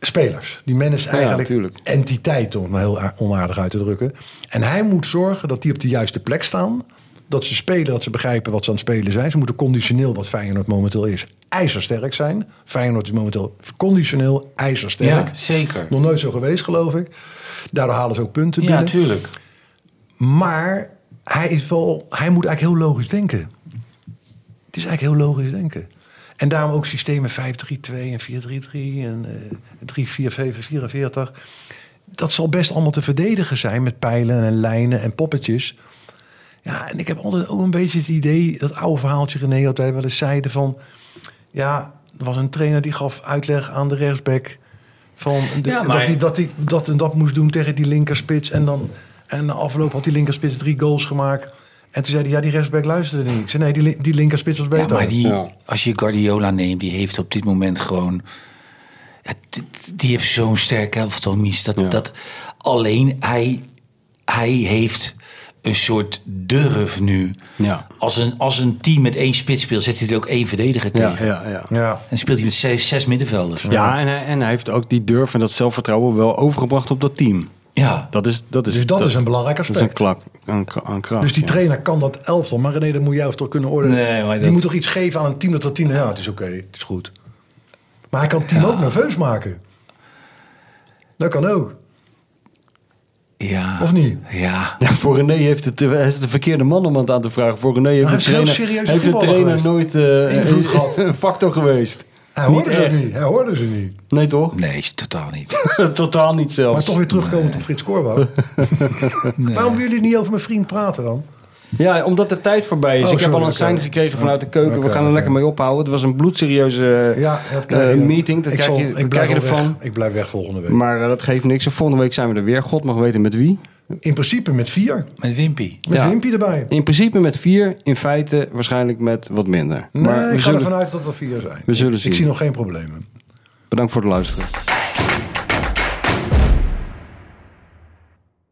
S3: spelers. Die managt eigenlijk
S2: tuurlijk.
S3: entiteiten, om het maar heel a- onaardig uit te drukken. En hij moet zorgen dat die op de juiste plek staan. Dat ze spelen, dat ze begrijpen wat ze aan het spelen zijn. Ze moeten conditioneel, wat Feyenoord momenteel is, ijzersterk zijn. Feyenoord is momenteel conditioneel ijzersterk.
S4: Ja, zeker.
S3: Nog nooit zo geweest, geloof ik. Daardoor halen ze ook punten
S4: Ja,
S3: binnen.
S4: tuurlijk.
S3: Maar hij, is wel, hij moet eigenlijk heel logisch denken. Het is eigenlijk heel logisch denken. En daarom ook systemen 5-3-2 en 4-3-3 en eh 3-4-7-44. Dat zal best allemaal te verdedigen zijn met pijlen en lijnen en poppetjes. Ja, en ik heb altijd ook een beetje het idee, dat oude verhaaltje René, dat wij wel eens zeiden van... Ja, er was een trainer die gaf uitleg aan de rechtsback... Van de-
S4: Ja,
S3: dat,
S4: maar-
S3: hij, dat hij dat en dat moest doen tegen die linkerspits. En dan en na afloop had die linkerspits drie goals gemaakt. En toen zei hij, ja, die rechtsback luisterde niet. Ik zei, nee, die, li- die linkerspits was beter.
S4: Ja, maar die,
S2: Ja.
S4: als je Guardiola neemt, die heeft op dit moment gewoon... Ja, d- d- die heeft zo'n sterke elftal, Mies. Dat,
S2: Ja.
S4: dat, alleen hij, hij heeft een soort durf nu.
S2: Ja.
S4: Als, een, als een team met één spits speelt, zet hij er ook één verdediger
S2: Ja,
S4: tegen.
S2: ja, ja.
S3: Ja.
S4: En speelt hij met zes, zes middenvelders.
S2: Ja, en hij, en hij heeft ook die durf en dat zelfvertrouwen wel overgebracht op dat team.
S4: Ja.
S2: Dat is, dat is,
S3: Dus dat is een belangrijk
S2: Dat is een,
S3: aspect.
S2: klak, een, kra- een kracht.
S3: dus die
S2: ja.
S3: trainer kan dat elftal. Maar René, dat moet jij toch kunnen ordenen.
S4: Nee, maar
S3: Die
S4: dat-
S3: moet toch iets geven aan een team dat dat team... Ja, het is oké, het is goed. Maar hij kan het team ook nerveus maken. Dat kan ook.
S4: ja.
S3: Of niet?
S4: Ja.
S2: Ja, voor René heeft het, eh, hij is het de verkeerde man om het aan te vragen. Voor René heeft,
S3: hij
S2: de
S3: is heel
S2: trainer,
S3: serieus
S2: heeft de
S3: voetballer
S2: trainer nooit
S3: geweest.
S2: eh,
S3: Invloed
S2: een-
S3: gehad.
S2: een factor geweest.
S3: Hij hoorde
S2: Niet
S3: ze
S2: echt.
S3: niet. Hij hoorde ze niet.
S2: Nee toch?
S4: Nee, is totaal niet.
S2: Totaal niet zelfs.
S3: Maar toch weer terugkomend op Frits Korbo. Waarom willen jullie niet over mijn vriend praten dan?
S2: Ja, omdat de tijd voorbij is.
S3: Oh,
S2: ik heb
S3: sorry,
S2: al een
S3: oké.
S2: sein gekregen vanuit de keuken.
S3: Oké,
S2: We gaan er
S3: oké.
S2: lekker mee ophouden. Het was een bloedserieuze eh,
S3: Ja, dat krijg
S2: eh,
S3: je.
S2: meeting. Dat
S3: ik
S2: krijg
S3: zal-
S2: je,
S3: ik
S2: dat
S3: blijf
S2: krijg je
S3: wel weg.
S2: ervan.
S3: Ik blijf weg volgende week.
S2: Maar eh, dat geeft niks. En volgende week zijn we er weer. God mag weten met wie.
S3: In principe met vier.
S4: Met Wimpy.
S3: Met
S2: Ja.
S3: Wimpy erbij.
S2: In principe met vier. In feite waarschijnlijk met wat minder.
S3: Nee,
S2: maar we
S3: ik ga
S2: zullen-
S3: ervan uit dat we vier zijn.
S2: we zullen
S3: Ik
S2: zien.
S3: zie nog geen problemen.
S2: Bedankt voor het luisteren.